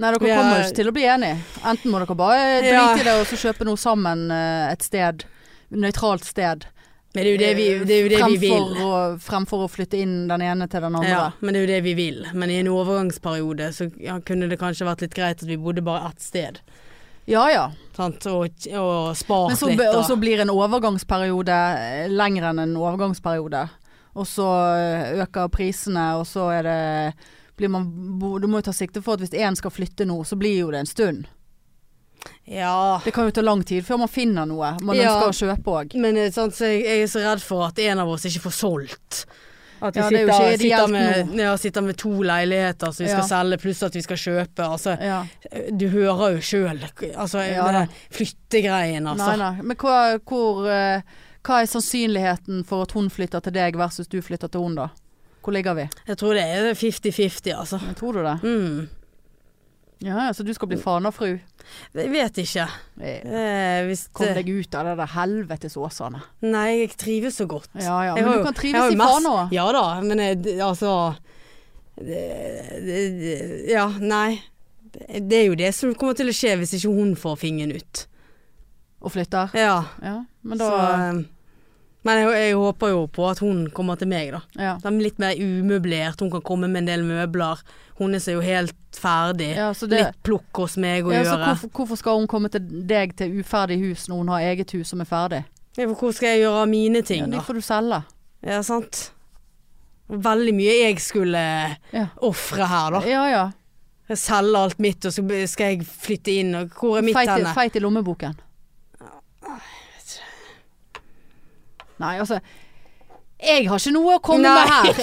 S1: Nei, dere
S2: Ja.
S1: kommer jo ikke til å bli enige. Enten må dere bare drite
S2: Ja.
S1: i det og så kjøpe noe sammen eh, et sted. Nøytralt sted. eh,
S2: Men det er jo det vi, det er jo det vi vil.
S1: fremfor, å, fremfor å flytte inn den ene til den andre.
S2: Ja, men det er jo det vi vil. Men i en overgangsperiode så ja, kunne det kanskje vært litt greit at vi bodde bare ett sted.
S1: Ja ja.
S2: Sant? Og, og spart
S1: Men så,
S2: litt.
S1: og så
S2: Og,
S1: blir en overgangsperiode eh, lengre enn en overgangsperiode. Og så eh, øker prisene, og så er det blir man, bo- Du må jo ta sikte for at hvis én skal flytte nå, så blir jo det en stund.
S2: ja.
S1: Det kan jo ta lang tid før man finner noe man
S2: Ja.
S1: ønsker å kjøpe òg.
S2: Men eh, sant, så jeg, jeg er så redd for at en av oss ikke får solgt. At vi
S1: Ja, det er jo
S2: sitter,
S1: ikke ideelt
S2: sitter, med, ja, sitter med to leiligheter som vi skal
S1: Ja.
S2: selge, pluss at vi skal kjøpe. Altså,
S1: Ja.
S2: du hører jo sjøl. Altså,
S1: Ja,
S2: det
S1: da.
S2: flyttegreien,
S1: Nei,
S2: altså.
S1: nei. Men hva, hvor, eh, hva er sannsynligheten for at hun flytter til deg versus du flytter til hun da? Hvor ligger vi?
S2: Jeg tror det er 50-50, altså.
S1: Tror du det?
S2: Mm.
S1: Ja, ja, så du skal bli fanerfru.
S2: Jeg vet ikke.
S1: Eh,
S2: Eh, hvis
S1: Kom
S2: det,
S1: deg ut av det der helvetes Åsane.
S2: nei, jeg trives så godt.
S1: Ja ja,
S2: Jeg har
S1: men
S2: jo-
S1: du kan
S2: jeg har
S1: trives
S2: jo
S1: i
S2: masse-
S1: Fana.
S2: Ja da, men eh, d- altså det- det- det- Ja, nei. Det det er jo det som kommer til å skje hvis ikke hun får fingeren ut.
S1: Og flytter.
S2: Ja,
S1: Ja, men da
S2: så eh, Men jeg, jeg håper jo på at hun kommer til meg, da.
S1: ja.
S2: Da er vi litt mer umøblert, hun kan komme med en del møbler. Hun er seg jo helt ferdig.
S1: ja, så det
S2: Litt plukk hos meg å
S1: ja, så
S2: gjøre.
S1: hvorfor, hvorfor skal hun komme til deg til uferdig hus når hun har eget hus som er ferdig?
S2: Ja, for hvor skal jeg gjøre av mine ting,
S1: Ja,
S2: da?
S1: de får du selge.
S2: Ja, sant. Veldig mye jeg skulle eh,
S1: Ja.
S2: ofre her, da.
S1: Ja ja.
S2: Jeg selger alt mitt, og så b- skal jeg flytte inn. Og hvor er mitt
S1: Feit i,
S2: henne?
S1: feit i lommeboken. Nei, altså Jeg har ikke noe å komme
S2: Nei.
S1: med her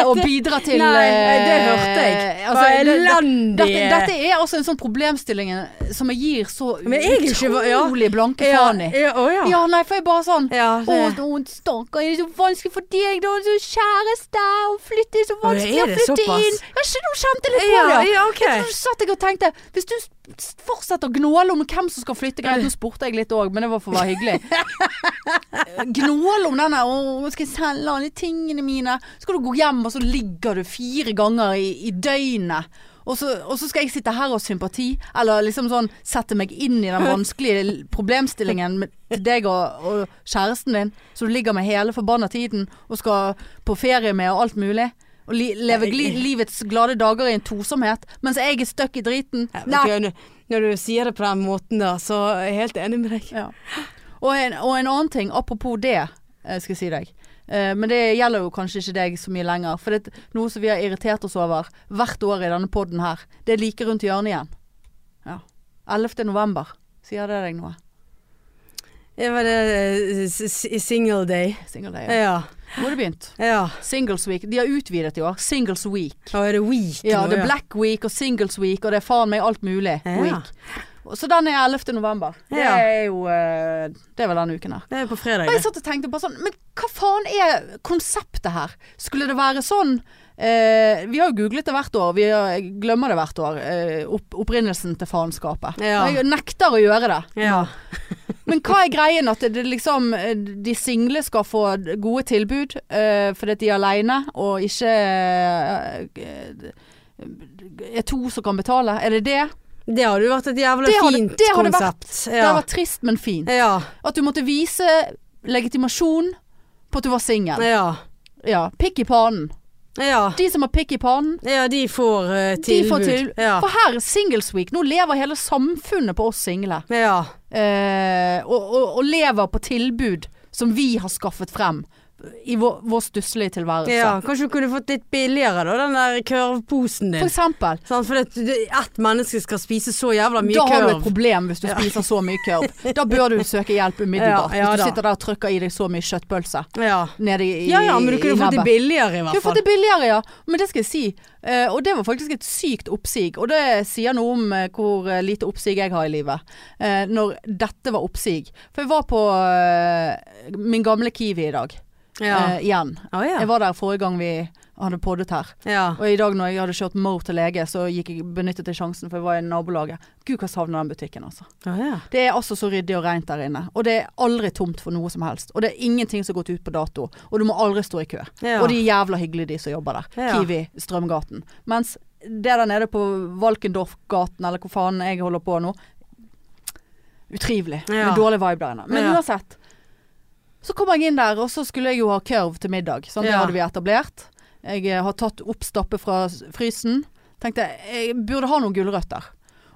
S1: eh, og bidra til.
S2: Nei, det
S1: eh,
S2: hørte jeg.
S1: altså,
S2: Hva
S1: det- det-
S2: elendig
S1: dette, dette er altså en sånn problemstilling eh, som jeg gir så
S2: Men jeg er ikke- ja.
S1: utrolig blanke
S2: ja,
S1: faen i.
S2: ja, å ja.
S1: Ja, nei, for jeg bare sånn
S2: Ja,
S1: Å,
S2: det-
S1: å, stakkar, det er så vanskelig for deg, da. Du kjæreste, og flytte er så
S2: Å,
S1: vanskelig
S2: er
S1: å
S2: det
S1: flytte
S2: såpass?
S1: inn. Jeg skjønner, du kjente litt på
S2: ja,
S1: det.
S2: ja, ok.
S1: Så satt jeg og tenkte Hvis du s- fortsetter å gnåle om hvem som skal flytte Greit, nå spurte jeg litt òg, men det var for å være hyggelig. Gnåle om denne Å, nå skal jeg selge alle tingene mine. Så skal du gå hjem, og så ligger du fire ganger i, i døgnet. Og så, og så skal jeg sitte her og ha sympati, eller liksom sånn sette meg inn i den vanskelige l- problemstillingen med- til deg og, og kjæresten din, som du ligger med hele forbanna tiden og skal på ferie med og alt mulig. Og li, leve gli, livets glade dager i en tosomhet, mens jeg er stuck i driten.
S2: Ja,
S1: Nei.
S2: ok, nå- Når du sier det på den måten der, så er jeg helt enig med deg.
S1: Ja. Og, en, og en annen ting, apropos det, eh, skal jeg si deg. Eh, Men det gjelder jo kanskje ikke deg så mye lenger. For det er noe som vi har irritert oss over hvert år i denne podden her. Det er like rundt hjørnet igjen. Ja. 11. november. Sier det deg noe?
S2: Ja, var det eh, s- s- single day?
S1: Single day. Ja.
S2: Ja.
S1: Eh, Nå har det begynt.
S2: ja.
S1: Singles week. De har utvidet i år. Singles week.
S2: Og er det week
S1: Ja,
S2: nå?
S1: det er Black Week og Singles Week, og det er faen meg alt mulig.
S2: Ja.
S1: Week. Så den er 11. november. Det
S2: Ja.
S1: er jo eh, Det er vel denne uken her.
S2: Det er på fredag.
S1: Og
S2: det.
S1: jeg satt og tenkte bare sånn Men hva faen er konseptet her? Skulle det være sånn eh, Vi har jo googlet det hvert år. Vi har, jeg glemmer det hvert år. Eh, opp, opprinnelsen til faenskapet.
S2: Ja.
S1: Og Jeg nekter å gjøre det.
S2: Ja.
S1: Men hva er greien at det liksom eh, De single skal få gode tilbud eh, fordi at de er aleine og ikke eh, er to som kan betale? Er det det?
S2: Det hadde jo vært et jævla
S1: Det hadde-
S2: fint
S1: det hadde
S2: konsept.
S1: Det
S2: Ja.
S1: hadde vært trist, men fint.
S2: ja.
S1: At du måtte vise legitimasjon på at du var singel.
S2: ja.
S1: Ja, pikk i pannen.
S2: Ja,
S1: De som har pikk i pannen,
S2: ja de får eh,
S1: de
S2: tilbud.
S1: får til.
S2: Ja.
S1: For her er singles week. Nå lever hele samfunnet på oss single.
S2: ja.
S1: Eh, og, og, og lever på tilbud som vi har skaffet frem i vår, vår stusslige tilværelse.
S2: ja. Kanskje du kunne fått litt billigere, da, den der kurvposen
S1: For
S2: din.
S1: eksempel.
S2: Sant, For det, det, ett menneske skal spise så jævla mye
S1: Da har du et
S2: kurv.
S1: problem hvis du spiser så mye kurv. Da bør du søke hjelp umiddelbart.
S2: Ja, ja
S1: hvis
S2: da.
S1: du sitter der og trykker i deg så mye kjøttpølse
S2: Ja.
S1: nede i, i
S2: ja ja, men du
S1: i
S2: kunne fått det
S1: nebbet.
S2: billigere i
S1: Du har
S2: hvert
S1: fått
S2: fall.
S1: det billigere, ja. Men det skal jeg si. Eh, og det var faktisk et sykt oppsig. Og det sier noe om eh, hvor eh, lite oppsig jeg har i livet. Eh, når dette var oppsig. For jeg var på eh, min gamle Kiwi i dag.
S2: Ja.
S1: Eh, igjen.
S2: Å, ja.
S1: Jeg var der forrige gang vi hadde poddet her.
S2: ja.
S1: Og i dag når jeg hadde kjørt Moe til lege, så gikk jeg, benyttet jeg sjansen, for jeg var i nabolaget. Gud, hva jeg savner den butikken, altså.
S2: Å, ja.
S1: Det er altså så ryddig og rent der inne. Og det er aldri tomt for noe som helst. Og det er ingenting som har gått ut på dato. Og du må aldri stå i kø.
S2: Ja.
S1: Og de er jævla hyggelige, de som jobber der.
S2: Ja.
S1: Kiwi, Strømgaten. Mens det der nede på Valkendorfgaten, eller hvor faen jeg holder på nå Utrivelig.
S2: Ja.
S1: Med dårlig vibe der inne. Men
S2: Ja.
S1: uansett. Så kommer jeg inn der, og så skulle jeg jo ha kurv til middag. Sant? Det
S2: Ja.
S1: hadde vi etablert. Jeg eh, har tatt opp stappe fra s- frysen. Tenkte jeg burde ha noen gulrøtter.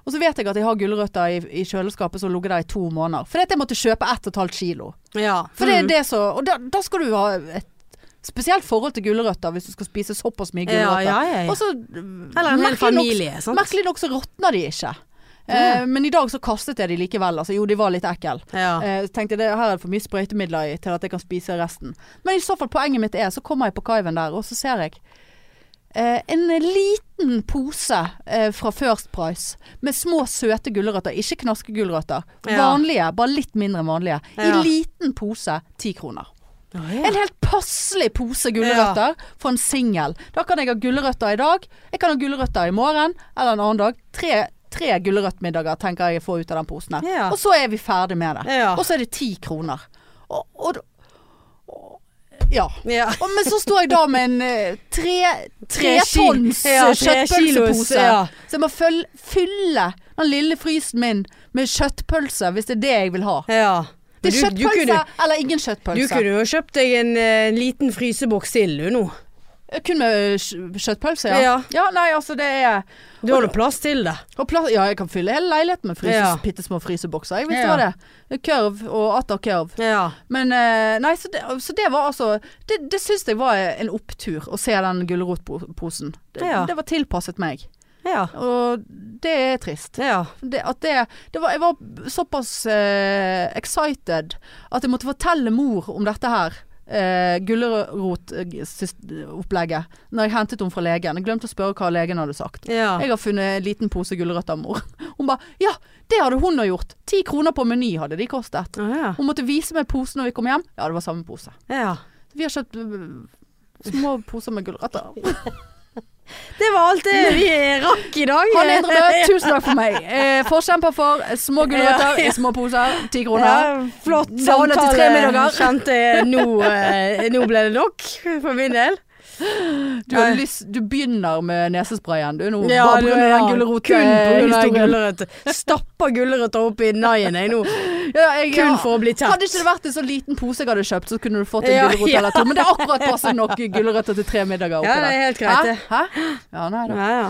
S1: Og så vet jeg at jeg har gulrøtter i, i kjøleskapet som har ligget der i to måneder. Fordi at jeg måtte kjøpe 1,5 kilo.
S2: ja.
S1: For det
S2: Mm.
S1: er det så, og da, da skal du ha et spesielt forhold til gulrøtter hvis du skal spise såpass mye
S2: ja,
S1: gulrøtter.
S2: ja, ja, ja.
S1: Og så
S2: Eller en
S1: merkelig
S2: hel
S1: nok-
S2: familie, sant?
S1: Merkelig nok så råtner de ikke. Eh,
S2: Ja.
S1: men i dag så kastet jeg de likevel. Altså, jo, de var litt ekle.
S2: Ja.
S1: Eh, så tenkte jeg det, her er det for mye sprøytemidler i til at jeg kan spise resten. Men i så fall poenget mitt er, så kommer jeg på kaiven der, og så ser jeg eh, en liten pose eh, fra First Price med små søte gulrøtter. Ikke knaskegulrøtter.
S2: Ja.
S1: Vanlige, bare litt mindre enn vanlige.
S2: Ja.
S1: I liten pose, ti kroner.
S2: Å, ja.
S1: En helt passelig pose gulrøtter for en singel. Da kan jeg ha gulrøtter i dag, jeg kan ha gulrøtter i morgen eller en annen dag. Tre, tre gulrøttmiddager tenker jeg å få ut av den posen. her.
S2: Ja.
S1: Og så er vi ferdig med det.
S2: Ja.
S1: Og så er det ti kroner. Og, og, og ja.
S2: Ja.
S1: Og, men så står jeg da med en eh, tre, tre
S2: Tre kil-
S1: tons eh,
S2: ja, tre kilos,
S1: kjøttpølsepose.
S2: ja.
S1: Så jeg må føl- fylle den lille frysen min med kjøttpølse, hvis det er det jeg vil ha.
S2: Ja.
S1: Det er
S2: Du- du kunne-
S1: kjøttpølse eller ingen kjøttpølse.
S2: Du kunne jo kjøpt deg en, eh, liten fryseboks til du nå.
S1: Kun med kj- kjøttpølse, ja.
S2: Ja.
S1: nei, altså det er
S2: Du har da plass til det.
S1: og plass, Ja, jeg kan fylle hele leiligheten med fryses,
S2: Ja.
S1: bitte små frysebokser. Jeg visste
S2: Ja.
S1: det. Kurv og atter kurv.
S2: Ja.
S1: Men eh, nei, så det, så det var altså Det, det syns jeg var en opptur å se den gulrotposen. Det,
S2: Ja.
S1: det var tilpasset meg.
S2: Ja.
S1: Og det er trist.
S2: Ja.
S1: Det, at det, det var, jeg var såpass eh, excited at jeg måtte fortelle mor om dette her. Uh, Gulrotopplegget. Når jeg hentet henne fra legen. Jeg glemte å spørre hva legen hadde sagt.
S2: Ja.
S1: Jeg har funnet en liten pose gulrøtter, mor. Hun bare Ja, det hadde hun òg gjort. Ti kroner på Meny hadde de kostet.
S2: Å, ja.
S1: Hun måtte vise meg posen når vi kom hjem. Ja, det var samme pose.
S2: ja.
S1: Vi har kjøpt øh, små poser med gulrøtter.
S2: Det var alt det vi rakk i dag.
S1: Han Indre Bø, tusen takk for meg. Eh, forkjemper for små gulrøtter i små poser. Ti kroner.
S2: Ja, flott
S1: Det holder til tre middager.
S2: Kjente jeg nå, eh, nå ble det nok for min del.
S1: Du, har
S2: Nei.
S1: lyst, du begynner med nesesprayen du nå.
S2: Ja,
S1: bare
S2: du-
S1: pga.
S2: ja,
S1: den eh,
S2: Kun på grunn av
S1: gulrothistorien.
S2: gulrøtter. Stapper gulrøtter opp i naien jeg nå.
S1: Ja, jeg-
S2: Kun for å bli tett.
S1: Hadde ikke det vært en så liten pose jeg hadde kjøpt, så kunne du fått en
S2: Ja,
S1: gulrot
S2: ja.
S1: eller to. Men det er akkurat passe nok gulrøtter til tre middager oppi
S2: Ja, det
S1: der.
S2: er helt greit, det.
S1: Hæ? Hæ? Ja, nei da.
S2: Ja,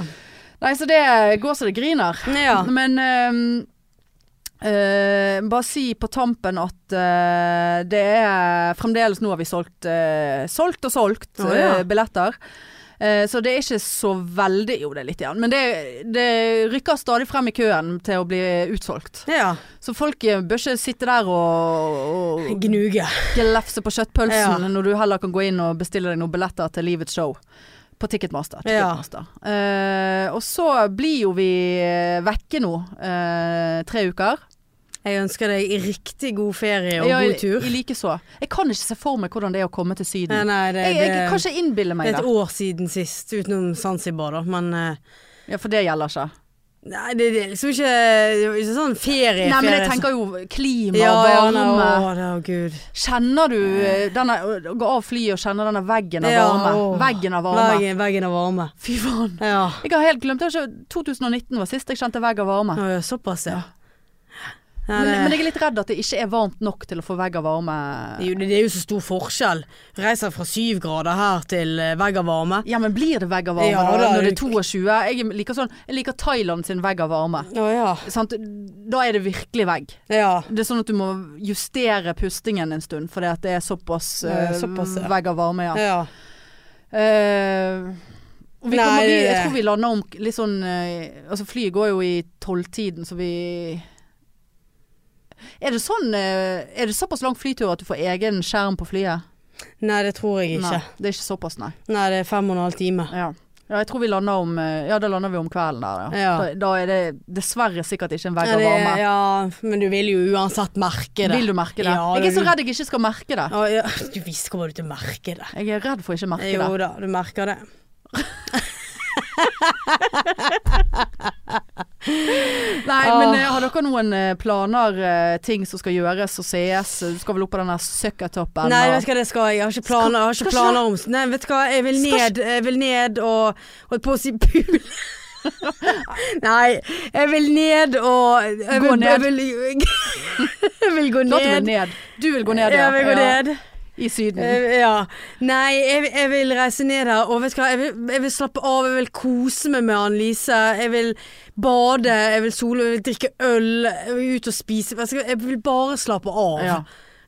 S1: Nei, så det eh, går så det griner.
S2: ja. ja.
S1: Men ehm, eh, bare si på tampen at eh, det er fremdeles Nå har vi solgt, eh, solgt og solgt
S2: Å, ja.
S1: eh, billetter. Eh, så det er ikke så veldig Jo, det er litt igjen. Men det, det rykker stadig frem i køen til å bli utsolgt.
S2: ja.
S1: Så folk eh, bør ikke sitte der og, og
S2: Gnuge.
S1: glefse på kjøttpølsen
S2: Ja.
S1: når du heller kan gå inn og bestille deg noen billetter til livets show. På Ticketmaster.
S2: Ja.
S1: Ticketmaster. Eh, og så blir jo vi eh, vekke nå eh, tre uker.
S2: Jeg ønsker deg riktig god ferie og
S1: Ja,
S2: god
S1: I,
S2: tur.
S1: i likeså. Jeg kan ikke se for meg hvordan det er å komme til
S2: Nei,
S1: Syden.
S2: nei, det,
S1: Jeg, jeg kan
S2: det,
S1: ikke innbille
S2: det
S1: meg
S2: er et
S1: det.
S2: år siden sist, utenom Zanzibar, da. Men eh,
S1: Ja, for det gjelder ikke.
S2: nei, det, det er liksom ikke, det er ikke sånn ferie.
S1: Nei, men
S2: ferie,
S1: jeg
S2: sånn.
S1: tenker jo klima
S2: ja,
S1: og
S2: nei,
S1: varme.
S2: Å, det, å, gud.
S1: Kjenner du eh, denne Å gå av flyet og kjenne denne veggen av
S2: Ja,
S1: varme.
S2: åh.
S1: Veggen av varme.
S2: Veggen, veggen er varme.
S1: Fy faen.
S2: Ja.
S1: Jeg har helt glemt det. var ikke- 2019 var sist jeg kjente vegg av varme.
S2: Å, ja, såpass, ja. Ja,
S1: Men,
S2: det-
S1: men jeg er litt redd at det ikke er varmt nok til å få vegg av varme.
S2: Det er jo- det er jo så stor forskjell. Reiser fra syv grader her til eh, vegg av varme.
S1: Ja, men blir det vegg av varme
S2: Ja,
S1: da,
S2: da er
S1: når det
S2: det-
S1: er 22? Jeg liker, sånn, jeg liker Thailand sin vegg av varme.
S2: Å ja.
S1: Sant? Da er det virkelig vegg.
S2: Ja.
S1: Det er sånn at du må justere pustingen en stund, fordi at det er såpass,
S2: Eh,
S1: eh,
S2: såpass, ja.
S1: vegg av varme, ja.
S2: ja.
S1: Eh, og vi
S2: Nei,
S1: kommer, vi,
S2: det-
S1: jeg tror vi lander om litt sånn eh, Altså flyet går jo i tolvtiden, så vi Er det sånn eh, Er det såpass lang flytur at du får egen skjerm på flyet?
S2: Nei, det tror jeg ikke.
S1: Nei,
S2: Nei,
S1: det er ikke såpass, nei.
S2: det er fem og en halv time.
S1: Ja. ja, jeg tror vi lander om eh, Ja, da lander vi om kvelden der, ja.
S2: Ja.
S1: Da, da er det dessverre sikkert ikke en vegg
S2: Ja,
S1: av
S2: det,
S1: varme.
S2: ja, men du vil jo uansett merke det.
S1: Vil du merke det?
S2: Ja,
S1: jeg er
S2: det-
S1: så redd jeg ikke skal merke det.
S2: Å, ja. Du visst kommer du til å merke det.
S1: Jeg er redd for ikke å merke
S2: Jo
S1: det.
S2: da, du merker det.
S1: Nei,
S2: Åh.
S1: men eh, har dere noen eh, planer, eh, ting som skal gjøres og sees? Du skal vel opp på den der søkkertoppen?
S2: Nei,
S1: og-
S2: vet du hva det skal jeg. Jeg har ikke planer, jeg har
S1: Skal-
S2: ikke
S1: skal
S2: planer om sånn. Nei, vet du hva, jeg vil
S1: Skal
S2: ned, jeg vil ned og Holdt på å si pul. Nei, jeg vil ned og jeg
S1: Gå
S2: vil,
S1: ned.
S2: Jeg vil, jeg vil gå
S1: Klart du vil
S2: ned.
S1: ned. Du vil gå ned, Mm.
S2: Jeg vil gå ned.
S1: I Syden.
S2: Eh, Ja. Nei, jeg, jeg vil reise ned her, og vet du hva, jeg vil, jeg vil slappe av, jeg vil kose meg med Annelise. Jeg vil bade, jeg vil sole, jeg vil drikke øl, jeg vil ut og spise. Vet du hva, Jeg vil bare slappe av.
S1: Ja.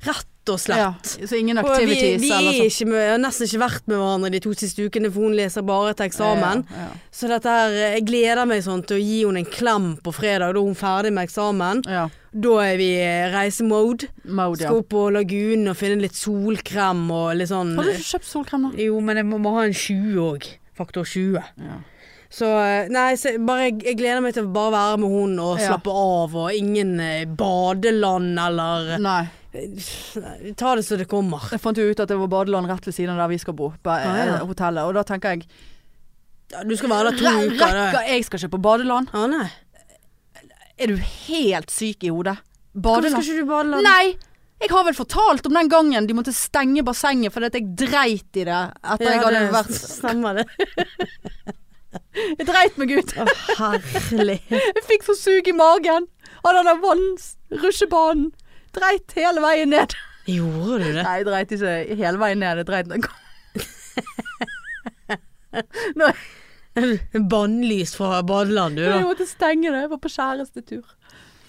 S2: Rett og slett.
S1: ja. Så ingen
S2: Og vi,
S1: activities
S2: vi
S1: eller sånn.
S2: er
S1: sånt.
S2: ikke med, har nesten ikke vært med hverandre de to siste ukene, for hun leser bare til eksamen.
S1: Ja, ja.
S2: Så dette her, jeg gleder meg sånn til å gi henne en klem på fredag, da er hun ferdig med eksamen.
S1: Ja.
S2: Da er vi i reisemode.
S1: Mode, ja.
S2: Skal opp på lagunen og finne litt solkrem og litt sånn
S1: Har du ikke kjøpt solkrem, da?
S2: Jo, men jeg må, må ha en 20 òg. Faktor 20.
S1: Ja.
S2: Så eh, nei, så jeg bare, jeg gleder meg til å bare være med hun og
S1: Ja.
S2: slappe av, og ingen eh, badeland eller
S1: Nei.
S2: Ta det så det kommer.
S1: Jeg fant jo ut at det var badeland rett ved siden av der vi skal bo, på eh,
S2: Ah, ja.
S1: hotellet. Og da tenker jeg
S2: Ja, Du skal være der to
S1: "Re-
S2: uker. da.
S1: Rekker jeg skal ikke på badeland?
S2: Å nei.
S1: Er du helt syk i hodet?
S2: Hvorfor
S1: Badeland?
S2: skal ikke du badeland?
S1: Nei! Jeg har vel fortalt om den gangen de måtte stenge bassenget fordi at jeg dreit i det etter jeg hadde vært
S2: Stemmer det.
S1: Jeg dreit meg ut.
S2: Å, herlig.
S1: Jeg fikk så sug i magen av den der vanns, rusjebanen. Dreit hele veien ned.
S2: Gjorde du det?
S1: Nei, jeg dreit ikke hele veien ned. Jeg dreit når jeg kom.
S2: Bannlyst fra badeland, du
S1: Jeg
S2: da.
S1: måtte stenge det. Jeg var på kjærestetur.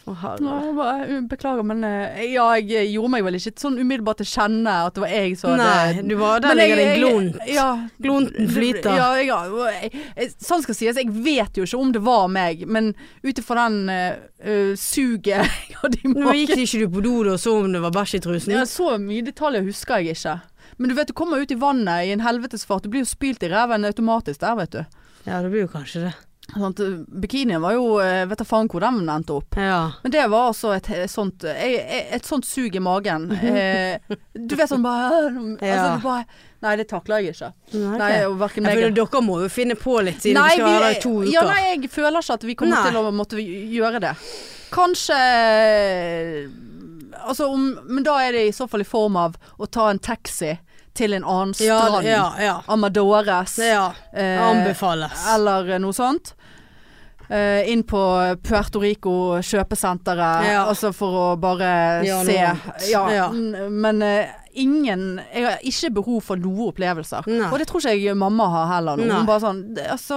S2: Å,
S1: Ja,
S2: herre.
S1: jeg bare, uh, beklager, men uh, ja, jeg gjorde meg vel ikke sånn umiddelbart til kjenne at det var jeg som
S2: Nei,
S1: hadde
S2: du var der
S1: Men
S2: ligger det en
S1: jeg-
S2: glunt.
S1: jeg- Ja,
S2: Glunten flyter.
S1: Ja, jeg, jeg, jeg, sånn skal sies, jeg vet jo ikke om det var meg, men ut ifra den uh, uh, suget jeg hadde i
S2: Nå
S1: magen
S2: gikk det ikke du på do da og så om det var bæsj i trusen?
S1: Ja, så mye detaljer husker jeg ikke. Men du vet, du kommer ut i vannet i en helvetesfart. Du blir jo spylt i ræven automatisk der, vet du.
S2: Ja, det blir jo kanskje det.
S1: Sånn at, eh, bikinien var jo eh, Vet da faen hvor den endte opp.
S2: Ja.
S1: Men det var altså et, eh, sånt eh, eh, Et sånt sug i magen. Eh, du vet sånn bare, eh, altså,
S2: Mhm. Ja.
S1: du bare Nei, det takler jeg ikke.
S2: Nei,
S1: Nei,
S2: ok.
S1: og hverken
S2: Jeg
S1: meg
S2: føler dere må jo finne på litt, siden
S1: Nei,
S2: vi skal være der i to uker.
S1: ja, nei, jeg føler ikke at vi kommer
S2: Nei.
S1: til å måtte gjøre det. Kanskje eh, Altså om Men da er det i så fall i form av å ta en taxi til en annen
S2: ja,
S1: strand.
S2: ja, ja.
S1: Amadores.
S2: Det, ja.
S1: eh,
S2: Anbefales.
S1: eller noe sånt. Eh, inn på Puerto Rico kjøpesenteret,
S2: Ja.
S1: altså for å bare
S2: Ja, noe
S1: se.
S2: annet.
S1: Ja,
S2: Ja.
S1: n- Men eh, ingen Jeg har ikke behov for noen opplevelser.
S2: Nei.
S1: Og det tror ikke jeg mamma har heller. nå.
S2: Nei.
S1: Hun bare sånn det- Altså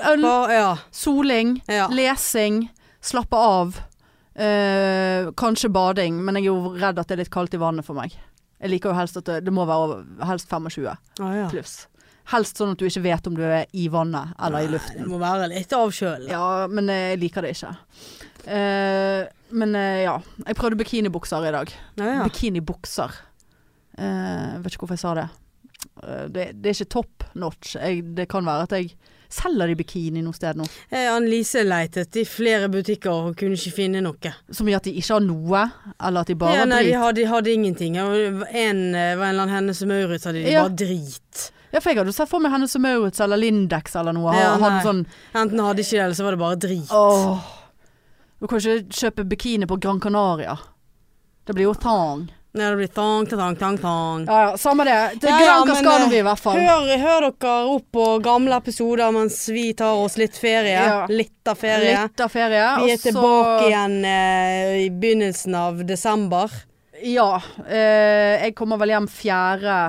S1: Øl,
S2: Bare, ja.
S1: soling,
S2: Ja.
S1: lesing, slappe av. eh, kanskje bading, men jeg er jo redd at det er litt kaldt i vannet for meg. Jeg liker jo helst at det, det må være over, helst 25
S2: Å, ja.
S1: pluss. Helst sånn at du ikke vet om du er i vannet eller i
S2: Det
S1: luften.
S2: må være litt avkjølende.
S1: Ja, men eh, jeg liker det ikke. Eh, men eh, ja. Jeg prøvde bikinibukser i dag.
S2: Ja, ja.
S1: Bikinibukser. Eh, jeg vet ikke hvorfor jeg sa det. Eh, det, det er ikke top notch. Jeg, det kan være at jeg selger de bikini noe sted nå.
S2: Eh, Annelise leitet i flere butikker og kunne ikke finne noe.
S1: Som i at de ikke har noe, eller at de bare
S2: ja, nei, de
S1: driter.
S2: hadde, de hadde ingenting. Og En eh, var en eller annen Hennes og Maurits hadde de
S1: Ja.
S2: bare drit.
S1: Ja, for jeg hadde sett for meg Hennes og Maurits eller Lindex eller noe.
S2: Ja,
S1: hadde
S2: nei.
S1: sånn
S2: Enten hadde ikke det, eller så var det bare drit.
S1: Åh. Du kan ikke kjøpe bikini på Gran Canaria. Det blir jo tang.
S2: Nei, det blir tang, tang, tang, tang.
S1: Ja, ja, samme det. Det
S2: Ja,
S1: er
S2: ja,
S1: Gran
S2: men,
S1: Cascano
S2: eh,
S1: vi i hvert fall.
S2: Hør, hør dere opp på gamle episoder mens vi tar oss litt ferie.
S1: Ja.
S2: Litt av ferie.
S1: Litt av ferie.
S2: Vi
S1: og
S2: er
S1: så-
S2: tilbake igjen eh, i begynnelsen av desember.
S1: Ja. Eh, jeg kommer vel hjem fjerde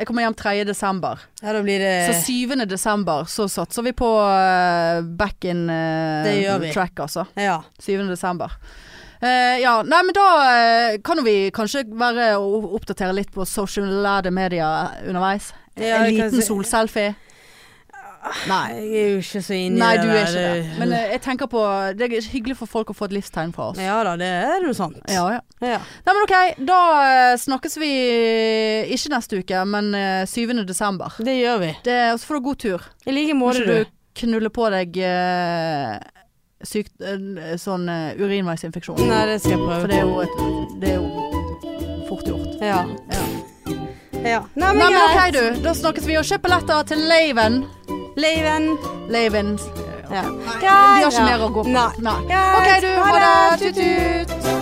S1: Jeg kommer hjem 3. desember.
S2: Ja, da blir det
S1: Så 7. desember så satser vi på eh, back in eh,
S2: Det gjør vi.
S1: track, altså.
S2: Ja.
S1: 7. desember. Eh, ja, nei men da eh, kan jo vi kanskje være å oppdatere litt på sosiale medier underveis.
S2: Ja,
S1: en
S2: jeg kan
S1: liten
S2: si-
S1: solselfie. Nei.
S2: Jeg er jo ikke så inni
S1: Nei,
S2: det
S1: du
S2: der.
S1: er ikke det. Men eh, jeg tenker på Det er hyggelig for folk å få et livstegn fra oss.
S2: Ja da, det er jo sant.
S1: Ja, ja.
S2: Ja.
S1: Nei, men OK. Da eh, snakkes vi eh, ikke neste uke, men eh, 7. desember.
S2: Det gjør vi.
S1: Det, og så får du god tur.
S2: I like
S1: Må
S2: måte,
S1: ikke
S2: du.
S1: du knulle på deg eh, sykt, eh, sånn eh, urinveisinfeksjon.
S2: Nei, det skal jeg prøve.
S1: For det er jo, et, det er jo fort gjort.
S2: Ja.
S1: Ja.
S2: ja. Nei,
S1: Nei, men OK,
S2: greit.
S1: du. Da snakkes vi og kjøp billetter til Laven.
S2: Leiven.
S1: Laven.
S2: Ja.
S1: Vi har ikke mer å gå på.
S2: Nei.
S1: Nei.
S2: Greit.
S1: OK, du. Ha det. Tut-tut.
S2: Tut-tut.